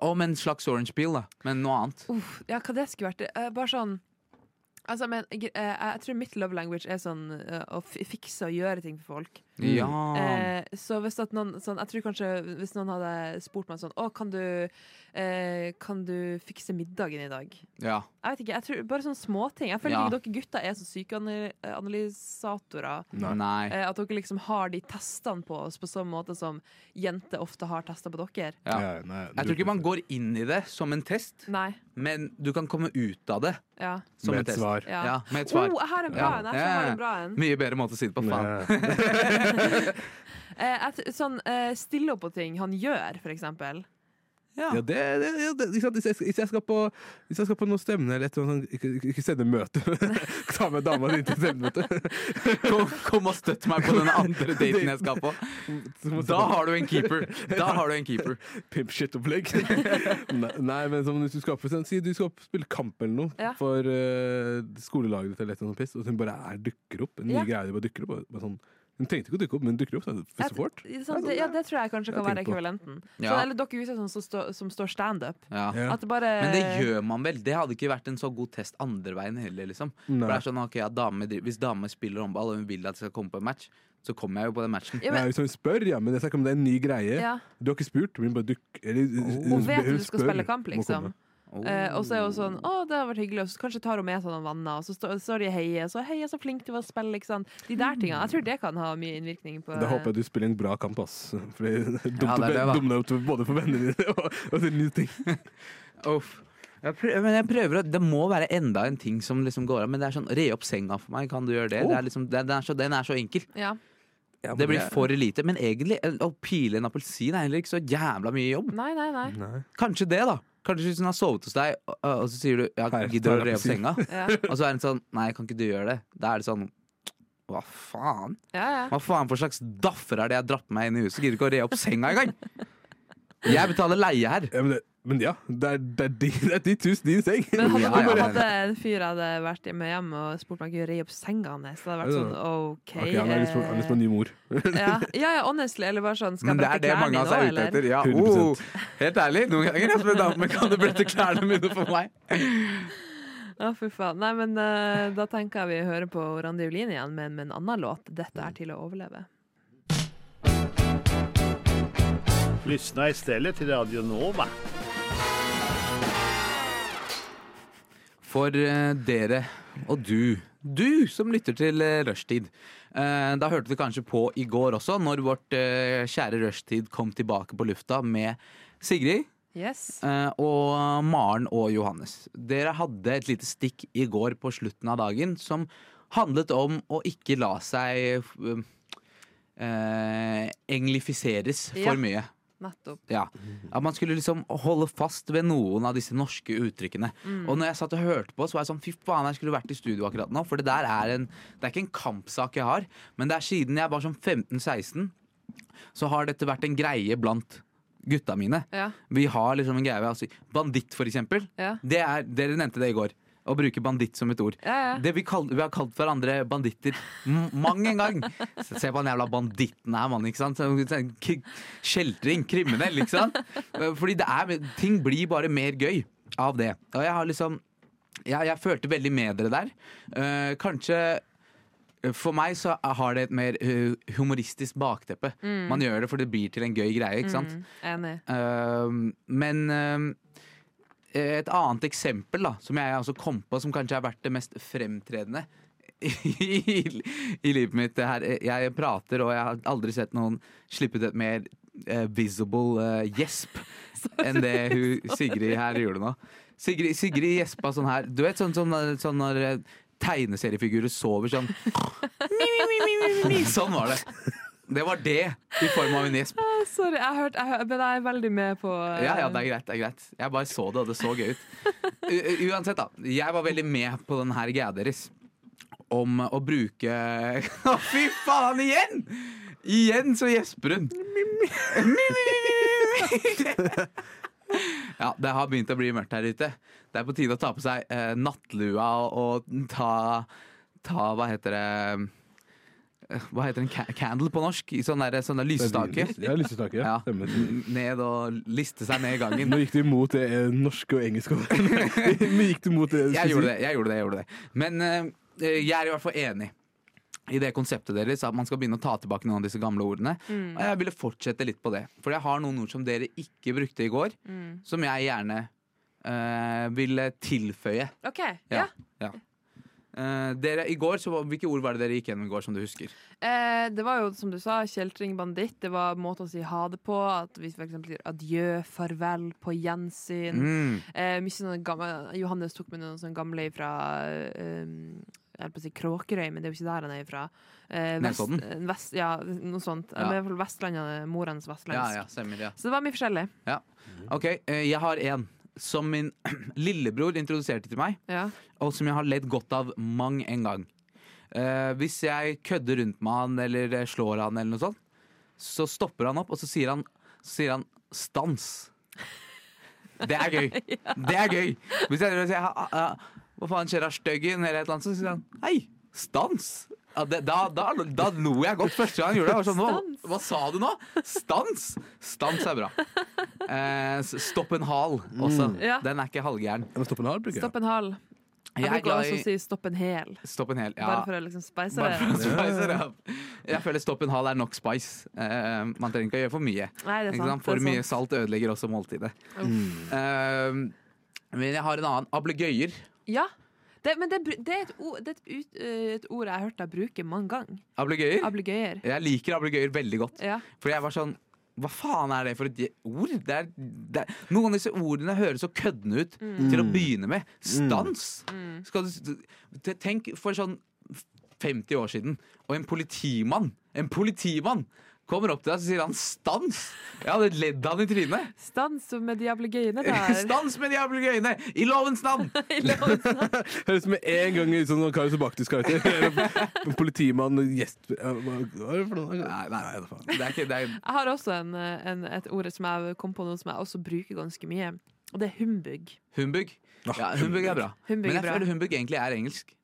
[SPEAKER 1] Om en slags orange peel, da, men noe annet.
[SPEAKER 5] Uff, ja, hva det skulle vært? Eh, bare sånn Altså, men, jeg, eh, jeg tror mitt love language er sånn eh, å fi- fikse og gjøre ting for folk.
[SPEAKER 1] Ja.
[SPEAKER 5] Eh, så hvis at noen sånn, Jeg tror kanskje hvis noen hadde spurt meg sånn Å, kan du, eh, kan du fikse middagen i dag?
[SPEAKER 1] ja.
[SPEAKER 5] Jeg vet ikke, jeg tror, Bare sånne småting. Jeg føler
[SPEAKER 1] Ja.
[SPEAKER 5] ikke dere gutter er så sykeanalysatorer.
[SPEAKER 1] Nei.
[SPEAKER 5] Eh, at dere liksom har de testene på oss på samme måte som jenter ofte har tester på dere.
[SPEAKER 1] Ja.
[SPEAKER 6] Ja, ja, nei,
[SPEAKER 1] Jeg tror ikke man går inn i det som en test,
[SPEAKER 5] Nei.
[SPEAKER 1] men du kan komme ut av det
[SPEAKER 5] Ja.
[SPEAKER 1] som
[SPEAKER 6] Med
[SPEAKER 1] en
[SPEAKER 6] et
[SPEAKER 1] test.
[SPEAKER 6] svar.
[SPEAKER 5] ja.
[SPEAKER 1] Ja, med et
[SPEAKER 5] Oh,
[SPEAKER 1] svar.
[SPEAKER 5] jeg har en bra
[SPEAKER 1] Ja.
[SPEAKER 5] en! Jeg tror jeg har en bra en.
[SPEAKER 1] Mye bedre måte å si det på, faen.
[SPEAKER 6] Ja.
[SPEAKER 5] Eh, jeg tr- sånn, eh, stille opp på ting han gjør, for eksempel.
[SPEAKER 6] Ja, det, det, ja, det ikke sant? Hvis, jeg, hvis, jeg skal på, hvis jeg skal på noe stevne eller et eller annet sånt, ikke, ikke- ikke sende møte Ta med dama di til stevnemøte.
[SPEAKER 1] Kom, kom og støtt meg på den andre daten jeg skal på. Da har du en keeper. Da har du en keeper.
[SPEAKER 6] Pimp shit-opplegg. nei, nei, men som hvis du skal på sånn, Si du skal spille kamp eller noe
[SPEAKER 5] Ja.
[SPEAKER 6] for eh, skolelaget ditt, eller et eller annet piss, og hun bare er, dukker opp. En
[SPEAKER 5] Ja.
[SPEAKER 6] ny greie de bare dukker opp. og Bare sånn, hun trengte ikke å dukke opp, men hun dukker opp. Så er det
[SPEAKER 5] Jeg
[SPEAKER 6] for
[SPEAKER 5] tr-
[SPEAKER 6] support.
[SPEAKER 5] sånn, det, ja, det tror jeg kanskje
[SPEAKER 6] Det har
[SPEAKER 5] kan være
[SPEAKER 6] jeg tenkt på.
[SPEAKER 5] ekvivalenten.
[SPEAKER 1] Ja.
[SPEAKER 5] Sånn, eller dere gutter som, som, står- som står standup.
[SPEAKER 1] Ja.
[SPEAKER 6] Ja.
[SPEAKER 5] At det bare
[SPEAKER 1] Men det gjør man vel. Det hadde ikke vært en så god test andre veien heller. liksom For det
[SPEAKER 6] Nei.
[SPEAKER 1] er sånn, ok, ja, dame, driver- Hvis dame spiller håndball og hun vil at jeg skal komme på en match, så kommer jeg jo på den matchen.
[SPEAKER 5] Ja,
[SPEAKER 6] Nei,
[SPEAKER 5] men,
[SPEAKER 6] hvis hun spør, ja, men jeg snakker om det er en ny greie.
[SPEAKER 5] ja.
[SPEAKER 6] Du har ikke spurt, men hun bare dukker eller,
[SPEAKER 5] Hun vet at du skal spille kamp,
[SPEAKER 6] Må
[SPEAKER 5] liksom.
[SPEAKER 6] komme.
[SPEAKER 1] Oh.
[SPEAKER 5] Eh, og så er hun sånn Å, det har vært hyggelig. Og så kanskje tar hun med seg noen venner, og så står, står de og heier. Så heier så flink du var til å spille, ikke sant. De der tingene. Jeg tror det kan ha mye innvirkning på
[SPEAKER 6] Da håper jeg du spiller en bra kamp, ass. Fordi det er dumt
[SPEAKER 1] Ja, det er det, da.
[SPEAKER 6] å be- dumme deg opp til både for vennene dine og, og til nye ting.
[SPEAKER 1] Uff. Jeg prøver, men jeg prøver å- Det må være enda en ting som liksom går av. Men det er sånn, re opp senga for meg. Kan du gjøre det?
[SPEAKER 6] Oh.
[SPEAKER 1] det er liksom, det, den, er så, den er så enkel.
[SPEAKER 5] Ja.
[SPEAKER 1] Det blir for lite. Men egentlig, eh, å pile en appelsin er heller ikke så jævla mye jobb.
[SPEAKER 5] Nei, nei, nei.
[SPEAKER 6] Nei.
[SPEAKER 1] Kanskje det, da. Kanskje hvis hun har sovet hos deg, og, og så sier du ja,
[SPEAKER 6] Her,
[SPEAKER 1] gidder
[SPEAKER 6] ta
[SPEAKER 1] du å
[SPEAKER 6] en
[SPEAKER 1] re opp
[SPEAKER 6] appelsin.
[SPEAKER 1] senga?
[SPEAKER 5] Ja,
[SPEAKER 1] Og så er hun sånn Nei, kan ikke du gjøre det? Da er det sånn Hva faen?
[SPEAKER 5] ja. ja.
[SPEAKER 1] Hva faen for slags daffer er det jeg har dratt med meg inn i huset? Gidder ikke å re opp senga engang! Jeg betaler leie her.
[SPEAKER 6] Ja, men, det, men ja, det er, det er, di, det er ditt hus, din seng.
[SPEAKER 5] Men hadde,
[SPEAKER 1] Ja, ja, ja.
[SPEAKER 5] hadde en fyr jeg hadde vært med hjem og spurt om jeg kunne re opp senga hans, så hadde jeg vært sånn OK.
[SPEAKER 6] Ok, han har lyst på, han har lyst på en ny mor.
[SPEAKER 5] eh, ja. ja, ja, honestly. Eller bare sånn Skal jeg
[SPEAKER 1] Men det er
[SPEAKER 5] brette
[SPEAKER 1] det
[SPEAKER 5] klærne
[SPEAKER 1] mange
[SPEAKER 5] dine
[SPEAKER 1] av oss
[SPEAKER 5] nå,
[SPEAKER 1] er ute
[SPEAKER 5] eller?
[SPEAKER 1] etter. Ja,
[SPEAKER 6] 100%.
[SPEAKER 1] oh, helt ærlig, noen ganger jeg spør damer kan du brette klærne mine for meg.
[SPEAKER 5] Å, fy faen. Nei, men eh, da tenker jeg vi hører på Randiolin igjen, men med en annen låt. 'Dette
[SPEAKER 1] Mm.
[SPEAKER 5] er til å overleve'.
[SPEAKER 10] Lyssna istället till Radio Nova.
[SPEAKER 1] For eh, dere og du, du som lytter til eh, Rushtid. Eh, da hørte du kanskje på i går også, når vårt eh, kjære Rushtid kom tilbake på lufta med Sigrid
[SPEAKER 5] Yes.
[SPEAKER 1] eh, og Maren og Johannes. Dere hadde et lite stikk i går på slutten av dagen som handlet om å ikke la seg eh, eh, englifiseres
[SPEAKER 5] Ja.
[SPEAKER 1] for mye.
[SPEAKER 5] Nettopp.
[SPEAKER 1] Ja, At man skulle liksom holde fast ved noen av disse norske uttrykkene. Og når jeg satt og hørte på, så var jeg sånn fy faen, jeg skulle vært i studio akkurat nå. For det der er en Det er ikke en kampsak jeg har, men det er siden jeg var sånn 15-16, så har dette vært en greie blant gutta mine.
[SPEAKER 5] Ja.
[SPEAKER 1] Vi har liksom en greie ved å si Banditt, for eksempel.
[SPEAKER 5] Ja.
[SPEAKER 1] Det er, dere nevnte det i går. Å bruke banditt som et ord.
[SPEAKER 5] Ja, ja.
[SPEAKER 1] Det vi, kall, vi har kalt hverandre banditter m- mang en gang. Se på den jævla banditten her, mann. ikke sant? Så- så- k- Kjeltring, kriminell, ikke sant? Fordi det er, ting blir bare mer gøy av det. Og jeg har liksom Jeg, jeg følte veldig med dere der. Eh, kanskje for meg så har det et mer eh, humoristisk bakteppe.
[SPEAKER 5] Mm.
[SPEAKER 1] Man gjør det for det blir til en gøy greie, ikke sant?
[SPEAKER 5] Enig.
[SPEAKER 1] Ehm, men ehm, et annet eksempel da, som jeg også kom på, som kanskje har vært det mest fremtredende i, i livet mitt det her Jeg prater, og jeg har aldri sett noen slippe ut et mer eh, visible eh, gjesp enn det hun, Sigrid her gjorde nå. Sigrid, Sigrid gjespa sånn her. Du vet sånn, sånn, sånn når eh, tegneseriefigurer sover sånn Sånn var det. Det var det i form av en gjesp.
[SPEAKER 5] Ah, Sorry, jeg har hørt, jeg hør- men jeg er veldig med på eh,
[SPEAKER 1] Ja, ja, det er greit. det er greit Jeg bare så det, og det så gøy ut. U u- uansett, da. Jeg var veldig med på den her greia deres om å bruke Å, fy faen, igjen! Igjen så gjesper hun. Ja, det har begynt å bli mørkt her ute. Det er på tide å ta på seg eh, nattlua og, og ta, ta Hva heter det Eh, Hva heter en ca candle på norsk? I sånn der- sånn der lysstake.
[SPEAKER 6] Ja, lysestake. Ja.
[SPEAKER 1] Ja.
[SPEAKER 6] Stemmer.
[SPEAKER 1] Ned og liste seg ned i gangen.
[SPEAKER 6] Nå gikk du imot det eh, norske og engelske. Nå gikk du imot eh, det.
[SPEAKER 1] jeg gjorde det, jeg gjorde det, jeg gjorde det. Men eh, jeg er i hvert fall enig i det konseptet deres, at man skal begynne å ta tilbake noen av disse gamle ordene. Og jeg ville fortsette litt på det. For jeg har noen ord som dere ikke brukte i går,
[SPEAKER 5] mm.
[SPEAKER 1] som jeg gjerne eh, ville tilføye.
[SPEAKER 5] OK. Ja.
[SPEAKER 1] ja. Eh, dere, i går, så, var- Hvilke ord var det dere gikk gjennom i går som du husker?
[SPEAKER 5] Eh, det var jo, som du sa, kjeltring, banditt. Det var måter å si ha det på. At vi f.eks. sier adjø, farvel, på gjensyn.
[SPEAKER 1] Mm.
[SPEAKER 5] Eh, mye sånne gamle, Johannes tok med noen sånne gamle fra eh, jeg holdt på å si Kråkerøy, men det er jo ikke der han er fra. Eh, vest,
[SPEAKER 1] Nesodden?
[SPEAKER 5] eh, vest, ja, noe sånt.
[SPEAKER 1] Ja.
[SPEAKER 5] Men i hvert fall Vestlandet, morens
[SPEAKER 1] Ja,
[SPEAKER 5] vestlandsk.
[SPEAKER 1] ja, stemmer, ja.
[SPEAKER 5] Så det var mye forskjellig.
[SPEAKER 1] Ok, eh, jeg har en som min lillebror introduserte til meg.
[SPEAKER 5] Ja.
[SPEAKER 1] og som jeg har ledd godt av mang en gang. Eh, hvis jeg kødder rundt med han eller eh, slår han eller noe sånt, så stopper han opp, og så sier han, så sier han 'stans'. Det er gøy. Det er gøy. Hvis jeg driver og sier «Ha- ha- ha, 'hva faen skjer av styggen', eller et eller annet, så sier han 'hei, stans'. Ja, det, da, da, da lo jeg godt første gang jeg gjorde det. Jeg var sånn, hva, hva sa du nå? Stans! Stans er bra. Eh, s- stopp en hal også.
[SPEAKER 5] Mm. Ja.
[SPEAKER 1] Den er ikke halvgæren.
[SPEAKER 6] Jeg må stoppe den her, bruker jeg.
[SPEAKER 5] Stopp en hal. Jeg
[SPEAKER 1] Jeg er
[SPEAKER 5] bruker
[SPEAKER 1] glad
[SPEAKER 5] også å
[SPEAKER 1] i
[SPEAKER 5] si stopp en hæl,
[SPEAKER 1] Stopp en hel. Ja.
[SPEAKER 5] bare for å liksom speise
[SPEAKER 1] Bare
[SPEAKER 5] det.
[SPEAKER 1] for å spice it up. Jeg føler stopp en hal er nok spice. Eh, man trenger ikke å gjøre for mye.
[SPEAKER 5] Nei, det er
[SPEAKER 1] Ikke sant?
[SPEAKER 5] sant.
[SPEAKER 1] For
[SPEAKER 5] det er
[SPEAKER 1] mye
[SPEAKER 5] sant.
[SPEAKER 1] salt ødelegger også måltidet. Eh, Men jeg har en annen. Ablegøyer.
[SPEAKER 5] Ja. Det, men det, er bru- det er, et ord, det er et, ut, eh, et ord jeg har hørt deg bruke mange ganger.
[SPEAKER 1] Ablegøyer?
[SPEAKER 5] Ablegøyer.
[SPEAKER 1] Jeg liker ablegøyer veldig godt.
[SPEAKER 5] Ja.
[SPEAKER 1] For jeg var sånn Hva faen er det for et je- ord? Det er, det er, noen av disse ordene høres så køddende ut til å begynne med. Stans! Skal du, t- tenk for sånn 50 år siden, og en politimann En politimann kommer opp til deg og sier han 'stans'! Jeg hadde ledd han i trynet.
[SPEAKER 5] Stans med de ablegøyene der.
[SPEAKER 1] Stans med de jævla øynene! I lovens navn!
[SPEAKER 6] Høres med en gang ut som noen Karius og Baktus-karakter. Politimann, gjest Hva hva er det for noe?
[SPEAKER 1] Nei, nei, det er faen. Det er ikke, det er,
[SPEAKER 5] Jeg har også en, eh, en, et ord som jeg kom på nå som jeg også bruker ganske mye. Og det er humbug.
[SPEAKER 1] humbug.
[SPEAKER 6] Ah,
[SPEAKER 1] Ja, humbug er bra.
[SPEAKER 5] Humbug
[SPEAKER 1] Men
[SPEAKER 5] er
[SPEAKER 1] jeg
[SPEAKER 5] bra.
[SPEAKER 1] føler humbug egentlig er engelsk.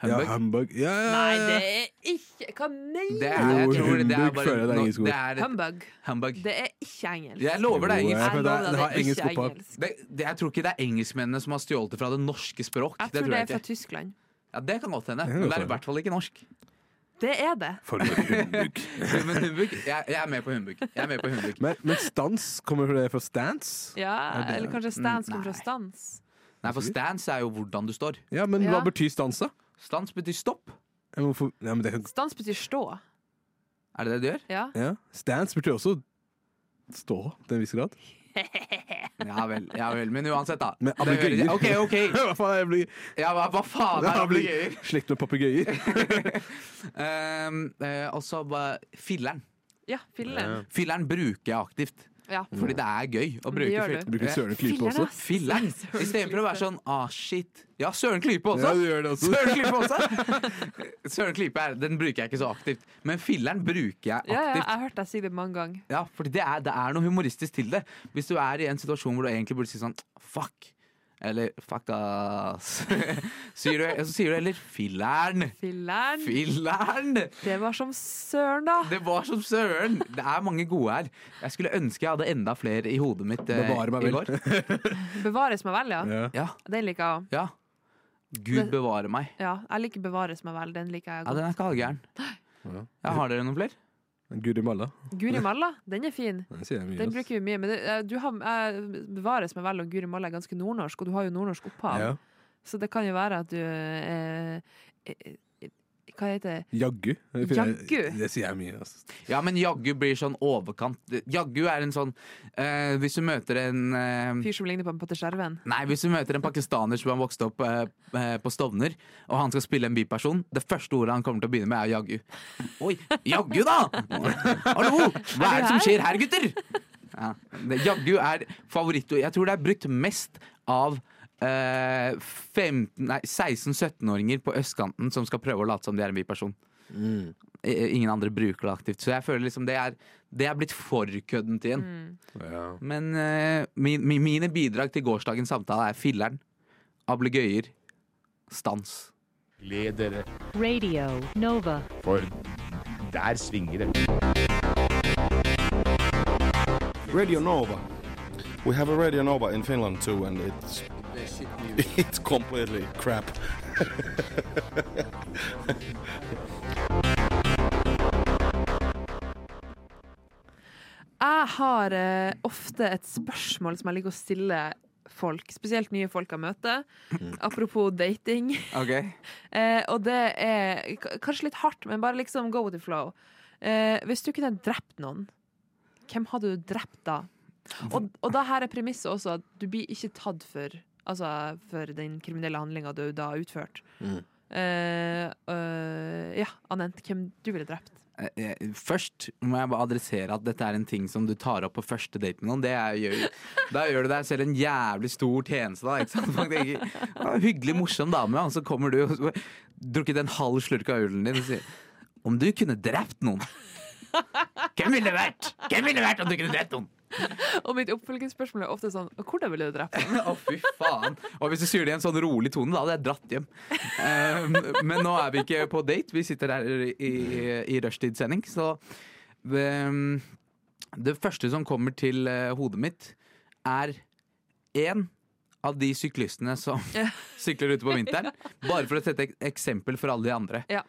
[SPEAKER 6] Ja,
[SPEAKER 1] Humbug.
[SPEAKER 6] humbug. Ja, ja,
[SPEAKER 5] Nei,
[SPEAKER 6] ja,
[SPEAKER 5] det
[SPEAKER 6] ja.
[SPEAKER 5] er ikke Hva mener
[SPEAKER 1] Det
[SPEAKER 5] du?
[SPEAKER 1] er, jeg
[SPEAKER 6] Jo,
[SPEAKER 1] tror det er
[SPEAKER 6] humbug
[SPEAKER 1] bare
[SPEAKER 6] føler jeg det er
[SPEAKER 1] no-
[SPEAKER 6] engelsk ord.
[SPEAKER 1] det er et
[SPEAKER 5] Humbug.
[SPEAKER 1] Humbug.
[SPEAKER 5] Det er ikke engelsk.
[SPEAKER 1] Jeg lover det er
[SPEAKER 6] Jo,
[SPEAKER 1] engelsk.
[SPEAKER 6] jeg-
[SPEAKER 5] Jeg
[SPEAKER 6] for det
[SPEAKER 5] lover
[SPEAKER 6] er-
[SPEAKER 5] deg, det
[SPEAKER 6] det har
[SPEAKER 5] er
[SPEAKER 6] engelsk
[SPEAKER 5] ikke
[SPEAKER 6] opphav.
[SPEAKER 5] engelsk.
[SPEAKER 1] Det, det, jeg tror ikke det er engelskmennene som har stjålet det fra det norske språk.
[SPEAKER 5] Jeg tror det
[SPEAKER 1] jeg
[SPEAKER 5] er fra
[SPEAKER 1] ikke.
[SPEAKER 5] Tyskland.
[SPEAKER 1] Ja, det kan godt hende,
[SPEAKER 6] kan
[SPEAKER 1] men
[SPEAKER 6] godt
[SPEAKER 1] det er i
[SPEAKER 6] være.
[SPEAKER 1] hvert fall ikke norsk.
[SPEAKER 5] Det er det.
[SPEAKER 6] For en humbug.
[SPEAKER 1] Men humbug, jeg, jeg er med på humbug. Jeg er med på humbug.
[SPEAKER 6] Men, men stans, kommer det fra stance?
[SPEAKER 5] Ja,
[SPEAKER 6] Er det-
[SPEAKER 5] eller kanskje stans
[SPEAKER 1] Mm,
[SPEAKER 5] kommer fra
[SPEAKER 1] nei.
[SPEAKER 5] stans.
[SPEAKER 1] Nei, for stans er jo hvordan du står.
[SPEAKER 6] Ja, men hva
[SPEAKER 5] Ja.
[SPEAKER 6] betyr stans, da?
[SPEAKER 1] Stans betyr stopp.
[SPEAKER 6] Ja, men hvorfor- Ja, men det kan
[SPEAKER 5] Stans betyr stå.
[SPEAKER 1] Er det det du gjør?
[SPEAKER 5] Ja.
[SPEAKER 6] Ja. Stance betyr også stå til en viss grad.
[SPEAKER 1] Ja vel. ja vel, Men uansett, da.
[SPEAKER 6] Men
[SPEAKER 1] Det hører-
[SPEAKER 6] ablegøyer.
[SPEAKER 1] OK, OK.
[SPEAKER 6] Hva faen, jeg blir,
[SPEAKER 1] Ja, hva, hva faen er
[SPEAKER 6] jeg
[SPEAKER 1] ablegøyer?
[SPEAKER 6] blir slekt med papegøyer.
[SPEAKER 1] Um, eh, Og så bare filleren.
[SPEAKER 5] Ja, filleren.
[SPEAKER 1] Filleren bruker jeg aktivt,
[SPEAKER 5] Ja.
[SPEAKER 1] fordi det er gøy å
[SPEAKER 5] Det
[SPEAKER 1] bruke
[SPEAKER 5] gjør
[SPEAKER 1] fyll-
[SPEAKER 5] du.
[SPEAKER 6] Mm. Bruker søren klype
[SPEAKER 5] Filleren,
[SPEAKER 6] også.
[SPEAKER 5] ass.
[SPEAKER 1] Filleren!
[SPEAKER 5] Søren
[SPEAKER 1] Istedenfor å være
[SPEAKER 5] klype.
[SPEAKER 1] sånn ah, shit. Ja, Søren Klype også!
[SPEAKER 6] Ja, du gjør det også.
[SPEAKER 1] Søren Klype også! Søren Klype er, den bruker jeg ikke så aktivt, men filleren bruker jeg aktivt.
[SPEAKER 5] Ja, ja, jeg
[SPEAKER 1] Ja,
[SPEAKER 5] har hørt deg si det mange ganger.
[SPEAKER 1] fordi det er, det er noe humoristisk til det. Hvis du er i en situasjon hvor du egentlig burde si sånn fuck, eller fuck ass, sier du, så sier du heller filleren.
[SPEAKER 5] Filleren.
[SPEAKER 1] Filleren!
[SPEAKER 5] Det var som søren, da.
[SPEAKER 1] Det var som søren! Det er mange gode her. Jeg skulle ønske jeg hadde enda flere i hodet mitt eh,
[SPEAKER 6] Bevare meg
[SPEAKER 1] i
[SPEAKER 6] vel.
[SPEAKER 1] går.
[SPEAKER 5] Bevares meg vel, ja.
[SPEAKER 6] Ja.
[SPEAKER 1] Ja,
[SPEAKER 5] Den liker jeg òg.
[SPEAKER 1] ja. Gud bevare meg.
[SPEAKER 5] Ja, jeg liker bevares meg vel. Den liker jeg
[SPEAKER 1] Ja,
[SPEAKER 5] godt.
[SPEAKER 1] den er ikke halvgæren. Ja, har dere noen flere?
[SPEAKER 6] Guri malla.
[SPEAKER 5] Guri malla, den er fin.
[SPEAKER 6] Den sier jeg mye.
[SPEAKER 5] Den
[SPEAKER 6] ass.
[SPEAKER 5] bruker vi mye. Men det, eh, du har, eh, bevares meg vel, og Guri malla er ganske nordnorsk, og du har jo nordnorsk opphav.
[SPEAKER 6] Ja.
[SPEAKER 5] Så det kan jo være at du eh, eh, eh, Hva heter det?
[SPEAKER 6] Jaggu. Det finner jeg-
[SPEAKER 5] Jaggu?
[SPEAKER 6] Det sier jeg mye. ass.
[SPEAKER 1] Ja, men jaggu blir sånn overkant. Jaggu er en sånn eh, Hvis du møter en eh,
[SPEAKER 5] Fyr som ligner på en Pater Skjerven?
[SPEAKER 1] Nei, hvis du møter en pakistaner som har vokst opp eh, eh, på Stovner, og han skal spille en biperson, det første ordet han kommer til å begynne med, er jaggu. Oi, jaggu da! Hallo! Hva er det som skjer her, gutter? Ja, det- jaggu er favorittord. Jeg tror det er brukt mest av eh, 15 nei, 16-17-åringer på østkanten som skal prøve å late som de er en biperson. I- Ingen andre bruker det aktivt. Så jeg føler liksom det er, det er blitt for kødden til en. Men eh, min, mi- mine bidrag til gårsdagens samtale er filleren, ablegøyer, stans.
[SPEAKER 11] Radio Nova.
[SPEAKER 3] Radio Nova. We have a Radio Nova in Finland too, and it's it's completely crap.
[SPEAKER 5] Jeg har eh, ofte et spørsmål som jeg liker å stille folk, spesielt nye folk jeg møter. Apropos dating.
[SPEAKER 1] Ok.
[SPEAKER 5] Eh, og det er k- kanskje litt hardt, men bare liksom go with the flow. Eh, hvis du kunne drept noen, hvem hadde du drept da? Og, og da her er premisset også at du blir ikke tatt for, altså, for den kriminelle handlinga du da har utført.
[SPEAKER 1] Mm.
[SPEAKER 5] Eh, øh, ja, Anent, hvem du ville drept?
[SPEAKER 1] Eh, eh, Først må jeg bare adressere at dette er en ting som du tar opp på første date med noen. Det er, gjør, da gjør du deg selv en jævlig stor tjeneste. Da, ikke sant? Man tenker, «Å, hyggelig, morsom dame, og så kommer du og så- drukket en halv slurk av ølen din og sier Om du kunne drept noen, hvem ville det vært? Hvem ville det vært om du kunne drept noen?
[SPEAKER 5] Og mitt oppfølgingsspørsmål er ofte sånn Hvordan ville du drept noen?
[SPEAKER 1] Å, fy faen. Og hvis du sier det i en sånn rolig tone, da hadde jeg dratt hjem. Um, men nå er vi ikke på date, vi sitter her i, i, i rushtidssending, så um, Det første som kommer til eh, hodet mitt, er én av de syklistene som sykler ute på vinteren. Bare for å sette ek eksempel for alle de andre.
[SPEAKER 5] Ja.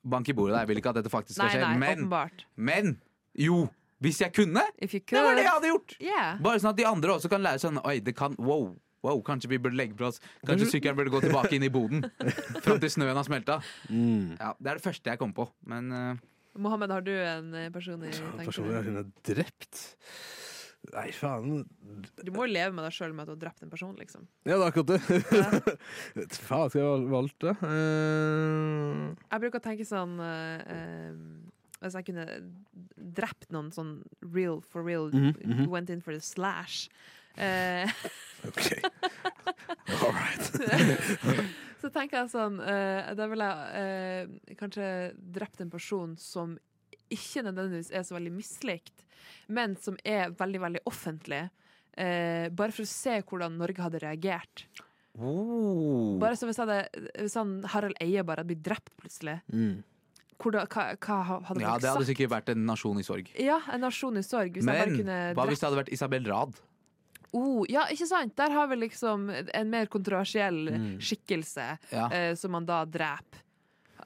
[SPEAKER 1] Bank i bordet, da. jeg vil ikke at dette faktisk
[SPEAKER 5] Nei,
[SPEAKER 1] skal skje.
[SPEAKER 5] nei,
[SPEAKER 1] men,
[SPEAKER 5] åpenbart.
[SPEAKER 1] men jo, hvis jeg kunne,
[SPEAKER 5] If you
[SPEAKER 1] det var
[SPEAKER 5] could.
[SPEAKER 1] det jeg hadde gjort!
[SPEAKER 5] Yeah.
[SPEAKER 1] Bare sånn at de andre også kan lære sånn Oi, det kan Wow, Wow, kanskje vi burde legge fra oss Kanskje sykkelen burde gå tilbake inn i boden fram til snøen har smelta.
[SPEAKER 6] Mm.
[SPEAKER 1] Ja, det er det første jeg kom på. Men eh,
[SPEAKER 5] Mohammed, har du en eh, person i
[SPEAKER 6] Personlig
[SPEAKER 5] tankene?
[SPEAKER 6] at hun er drept? Nei, faen.
[SPEAKER 5] Du må jo leve med deg sjøl med at du har drept en person, liksom.
[SPEAKER 6] Ja, det er akkurat det. faen, skal jeg ha valgt det? Eh,
[SPEAKER 5] Jeg bruker å tenke sånn eh, eh, Hvis jeg kunne drept noen sånn real for real,
[SPEAKER 6] Mhm, mhm.
[SPEAKER 5] went in for the slash eh,
[SPEAKER 6] OK. All right.
[SPEAKER 5] Så tenker jeg sånn eh, Da ville jeg eh, kanskje drept en person som ikke nødvendigvis er så veldig mislikt, men som er veldig, veldig offentlig. eh, bare for å se hvordan Norge hadde reagert.
[SPEAKER 1] oh.
[SPEAKER 5] Bare så hvis, jeg hadde, hvis han Harald Eie bare hadde blitt drept plutselig,
[SPEAKER 6] Mm.
[SPEAKER 5] hvordan, hva, hva hadde
[SPEAKER 1] Ja,
[SPEAKER 5] folk
[SPEAKER 1] det hadde
[SPEAKER 5] sagt?
[SPEAKER 1] sikkert vært en nasjon i sorg.
[SPEAKER 5] Ja, en nasjon i sorg. Hvis jeg
[SPEAKER 1] Men
[SPEAKER 5] bare kunne
[SPEAKER 1] hva
[SPEAKER 5] drept
[SPEAKER 1] hvis det hadde vært Isabel Rad?
[SPEAKER 5] Oh, ja, ikke sant? Der har vi liksom en mer kontroversiell
[SPEAKER 1] Mm.
[SPEAKER 5] skikkelse
[SPEAKER 1] Ja.
[SPEAKER 5] eh, som man da dreper.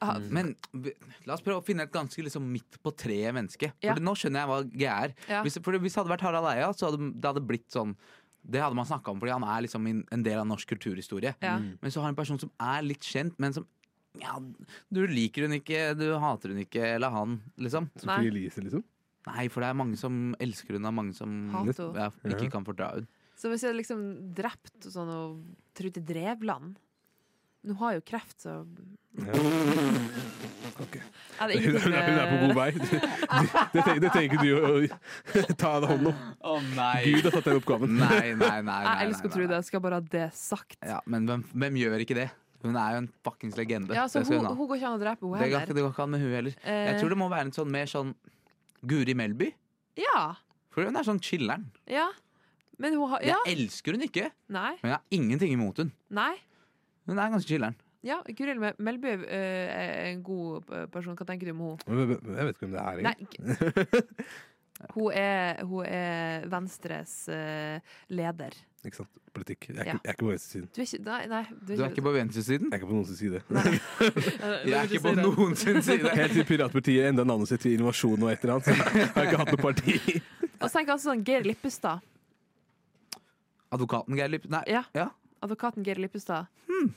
[SPEAKER 5] Ah,
[SPEAKER 1] Men vi- la oss prøve å finne et ganske liksom midt på treet menneske.
[SPEAKER 5] Ja.
[SPEAKER 1] For nå skjønner jeg hva jeg er.
[SPEAKER 5] Ja.
[SPEAKER 1] Hvis, for hvis det hadde vært Harald Eia, så hadde det hadde blitt sånn Det hadde man snakka om, fordi han er liksom en- en del av norsk kulturhistorie.
[SPEAKER 5] Ja.
[SPEAKER 1] Men så har en person som er litt kjent, men som ja, Du liker hun ikke, du hater hun ikke, eller han, liksom.
[SPEAKER 6] Sophie Elise, liksom?
[SPEAKER 1] Nei, for det er mange som elsker hun, og mange som
[SPEAKER 5] Hater hun.
[SPEAKER 1] ja, ikke
[SPEAKER 6] Ja.
[SPEAKER 1] kan fordra hun.
[SPEAKER 5] Så hvis jeg liksom drept sånn og Trude Drevland Nå har jeg jo kreft, så
[SPEAKER 6] Ok.
[SPEAKER 5] er det
[SPEAKER 6] Hun er,
[SPEAKER 5] ingenting
[SPEAKER 6] hun er- hun er på god vei. Det, tenker, det tenker du å ta en hånd om.
[SPEAKER 1] Å nei.
[SPEAKER 6] Gud har tatt den oppgaven.
[SPEAKER 1] Nei, nei, nei, nei, nei,
[SPEAKER 5] Jeg elsker
[SPEAKER 1] nei,
[SPEAKER 5] Trude,
[SPEAKER 1] nei.
[SPEAKER 5] jeg skal bare ha det sagt. Ja,
[SPEAKER 1] Ja, men hvem, hvem gjør ikke det? Hun er jo en fuckings legende.
[SPEAKER 5] så
[SPEAKER 1] det skal
[SPEAKER 5] hun,
[SPEAKER 1] hun ha.
[SPEAKER 5] hun går ikke an å drepe, hun Eh.
[SPEAKER 1] Det går, ikke,
[SPEAKER 5] heller.
[SPEAKER 1] det går ikke an med hun heller. Jeg tror det må være en sånn mer sånn Guri Melby.
[SPEAKER 5] Eh, Ja.
[SPEAKER 1] For hun er sånn chiller'n.
[SPEAKER 5] Ja. Men hun har Ja.
[SPEAKER 1] Jeg elsker hun ikke,
[SPEAKER 5] Nei.
[SPEAKER 1] men jeg har ingenting imot hun.
[SPEAKER 5] Nei.
[SPEAKER 1] Hun er ganske chiller'n.
[SPEAKER 5] Ja, Guril Mel- Melby eh, er en god eh, person. Hva tenker du om henne?
[SPEAKER 6] Jeg vet ikke hvem det er.
[SPEAKER 5] Nei. g- Hun er, hun er Venstres eh, leder.
[SPEAKER 6] Ikke sant? Politikk. Jeg er,
[SPEAKER 5] Ja.
[SPEAKER 6] ikke, jeg er ikke på venstresiden.
[SPEAKER 5] Du er ikke Nei, nei
[SPEAKER 1] Du er ikke på venstresiden?
[SPEAKER 6] Jeg er ikke på noen sin side.
[SPEAKER 1] Jeg Eh, er ikke på noen sin side.
[SPEAKER 6] Helt til piratpartiet endra navnet sitt til Innovasjon og et eller annet. så Jeg har ikke hatt noe parti.
[SPEAKER 5] Og så tenker jeg også sånn Geir Lippestad.
[SPEAKER 1] Advokaten Geir Lipp... Nei.
[SPEAKER 5] Ja.
[SPEAKER 1] Ja.
[SPEAKER 5] Advokaten Geir Lippestad.
[SPEAKER 1] Hmm.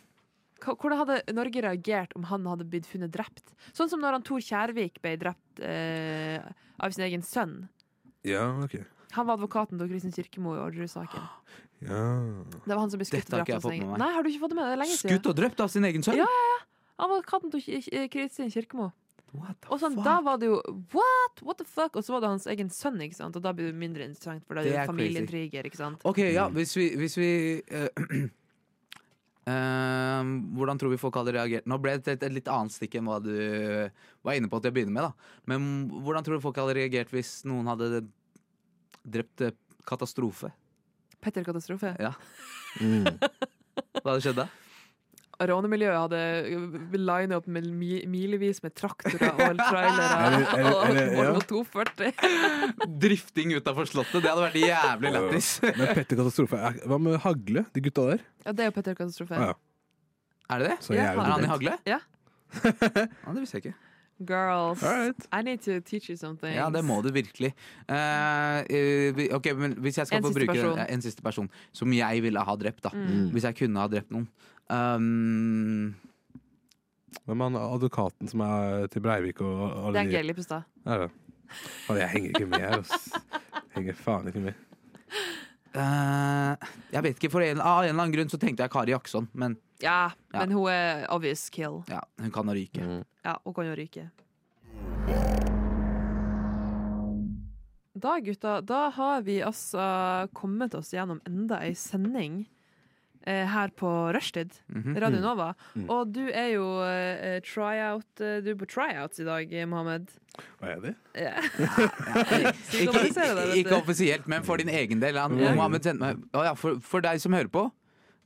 [SPEAKER 5] Hva- Hvordan hadde Norge reagert om han hadde blitt funnet drept? Sånn som når han Tor Kjærvik ble drept eh, av sin egen sønn.
[SPEAKER 6] Ja, ok.
[SPEAKER 5] Han var advokaten til Kristin Kirkemo i Orderud-saken.
[SPEAKER 6] Ja.
[SPEAKER 5] Det var han som ble skutt
[SPEAKER 1] Ah, Dette har
[SPEAKER 5] og drept av sin
[SPEAKER 1] ikke jeg fått med
[SPEAKER 5] egen
[SPEAKER 1] meg.
[SPEAKER 5] Nei, har du ikke fått det med deg? Det er lenge
[SPEAKER 1] Skutt
[SPEAKER 5] siden.
[SPEAKER 1] og drept av sin egen sønn?
[SPEAKER 5] Ja. Han var advokaten til Ki- Ki- Kristin Kirkemo.
[SPEAKER 1] What the
[SPEAKER 5] Og sånn,
[SPEAKER 1] fuck?
[SPEAKER 5] da var det jo What? What the fuck? Og så var det hans egen sønn, ikke sant? Og da blir det mindre interessant, for da er
[SPEAKER 1] Det
[SPEAKER 5] det
[SPEAKER 1] er
[SPEAKER 5] jo familieintriger, ikke sant?
[SPEAKER 1] Ok, ja, hvis vi, hvis vi eh, eh, Hvordan tror vi folk hadde reagert? Nå ble det et, et litt annet stikk enn hva du var inne på til å begynne med. da Men hvordan tror du folk hadde reagert hvis noen hadde drept eh, katastrofe?
[SPEAKER 5] Petter Katastrofe.
[SPEAKER 1] Ja,
[SPEAKER 6] Mm.
[SPEAKER 1] Hva hadde skjedd da?
[SPEAKER 5] Rånemiljøet hadde line opp med mi- milevis med traktorer og
[SPEAKER 6] Er det- er
[SPEAKER 5] trailere
[SPEAKER 6] det- er det- ja.
[SPEAKER 5] og Volvo 240.
[SPEAKER 1] Drifting utafor Slottet, det hadde vært jævlig lættis.
[SPEAKER 6] Men Petter Katastrofe er- Hva med Hagle, de gutta der?
[SPEAKER 5] Ja, det er jo Petter Katastrofe.
[SPEAKER 6] Ah, ja.
[SPEAKER 1] Er det det?
[SPEAKER 6] Så jævlig
[SPEAKER 1] Er han i
[SPEAKER 6] dumt.
[SPEAKER 1] hagle?
[SPEAKER 5] Ja.
[SPEAKER 1] Ja, det visste jeg ikke.
[SPEAKER 5] Girls,
[SPEAKER 6] All right.
[SPEAKER 5] I need to teach you something.
[SPEAKER 1] Ja, det må du virkelig. Eh, eh, vi- ok, men Hvis jeg skal
[SPEAKER 5] En
[SPEAKER 1] få
[SPEAKER 5] siste
[SPEAKER 1] bruke
[SPEAKER 5] person.
[SPEAKER 1] en, en siste person som jeg ville ha drept, da.
[SPEAKER 5] Mm.
[SPEAKER 1] Hvis jeg kunne ha drept noen. Um,
[SPEAKER 6] Hvem er han advokaten som er til Breivik og alle
[SPEAKER 5] Det er
[SPEAKER 6] de-
[SPEAKER 5] Geir Lippestad.
[SPEAKER 6] Er det? Å, Jeg henger ikke med her, ass. Henger faen ikke med.
[SPEAKER 1] eh, jeg vet ikke, for en, av en eller annen grunn så tenkte jeg Kari Jaksson, men
[SPEAKER 5] Ja,
[SPEAKER 1] Ja.
[SPEAKER 5] men hun er obvious kill.
[SPEAKER 1] ja, hun kan å ryke.
[SPEAKER 5] Ja, hun kan jo ryke. Da, gutta, da har vi altså kommet oss gjennom enda ei sending eh, her på Rushtid,
[SPEAKER 1] Mhm.
[SPEAKER 5] Radio Nova. Og du er jo eh, tryout eh, Du er på tryouts i dag, eh, Mohammed.
[SPEAKER 6] Hva er det?
[SPEAKER 5] Ja.
[SPEAKER 1] Ikke,
[SPEAKER 5] Synkronisere deg, vet du.
[SPEAKER 1] ikke offisielt, men for din egen del. Han,
[SPEAKER 6] Ja.
[SPEAKER 1] Mohammed sendte meg, Å ja, for, for deg som hører på.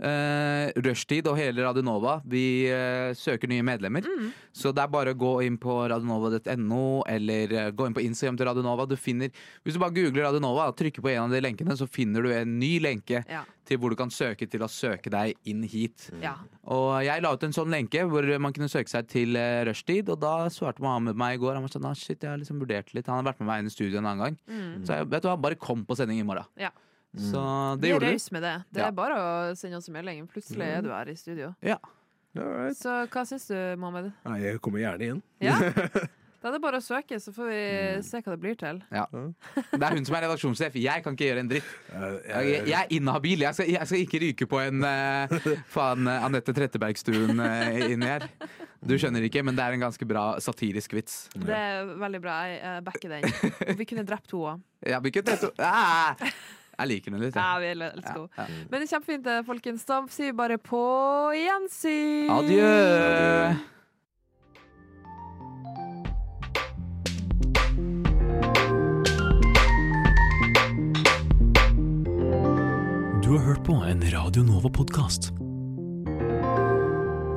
[SPEAKER 1] Uh, Rushtid og hele Radionova, vi eh, søker nye medlemmer.
[SPEAKER 5] Mm.
[SPEAKER 1] Så det er bare å gå inn på radionova.no, eller eh, gå inn på Instagram til Radionova. Du finner, hvis du bare googler Radionova og trykker på en av de lenkene, så finner du en ny lenke
[SPEAKER 5] Ja.
[SPEAKER 1] til hvor du kan søke til å søke deg inn hit.
[SPEAKER 5] ja.
[SPEAKER 1] Og jeg la ut en sånn lenke hvor man kunne søke seg til eh, rushtid, og da svarte Mohammed meg i går. Han var sånn, ah, shit, jeg har liksom vurdert litt. Han har vært med meg inn i studio en annen gang. Så jeg vet du hva, bare kom på sending i morgen.
[SPEAKER 5] Mm. Ja.
[SPEAKER 1] Så det
[SPEAKER 5] Vi er
[SPEAKER 1] gjorde du.
[SPEAKER 5] raus med det. Det
[SPEAKER 1] Ja. Mhm.
[SPEAKER 5] er bare å sende oss en melding. Plutselig er du her i studio.
[SPEAKER 1] Ja.
[SPEAKER 5] Så hva syns du, Mohammed?
[SPEAKER 6] Nei, jeg kommer gjerne igjen.
[SPEAKER 5] Ja? Da er det bare å søke, så får vi
[SPEAKER 1] Mm.
[SPEAKER 5] se hva det blir til.
[SPEAKER 1] Ja. Det er hun som er redaksjonssjef. Jeg kan ikke gjøre en dritt. Jeg,
[SPEAKER 6] jeg-
[SPEAKER 1] jeg er inhabil. Jeg skal, jeg skal ikke ryke på en eh, faen eh, Anette Trettebergstuen eh, inni her. Du skjønner ikke, men det er en ganske bra satirisk vits.
[SPEAKER 5] Det er veldig bra. Jeg eh, backer den. Og vi kunne drept henne òg.
[SPEAKER 1] Jeg, blir ikke trett- Ah! jeg liker den litt.
[SPEAKER 5] Ja,
[SPEAKER 1] jeg.
[SPEAKER 5] vi elsker henne.
[SPEAKER 1] Ja.
[SPEAKER 5] Men det er kjempefint, eh, folkens. Da sier vi bare på gjensyn!
[SPEAKER 1] Adjø.
[SPEAKER 11] Du har hørt på en Radio Nova-podkast.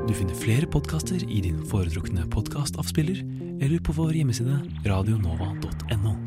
[SPEAKER 11] Du finner flere podkaster i din foretrukne podkastavspiller eller på vår hjemmeside radionova.no.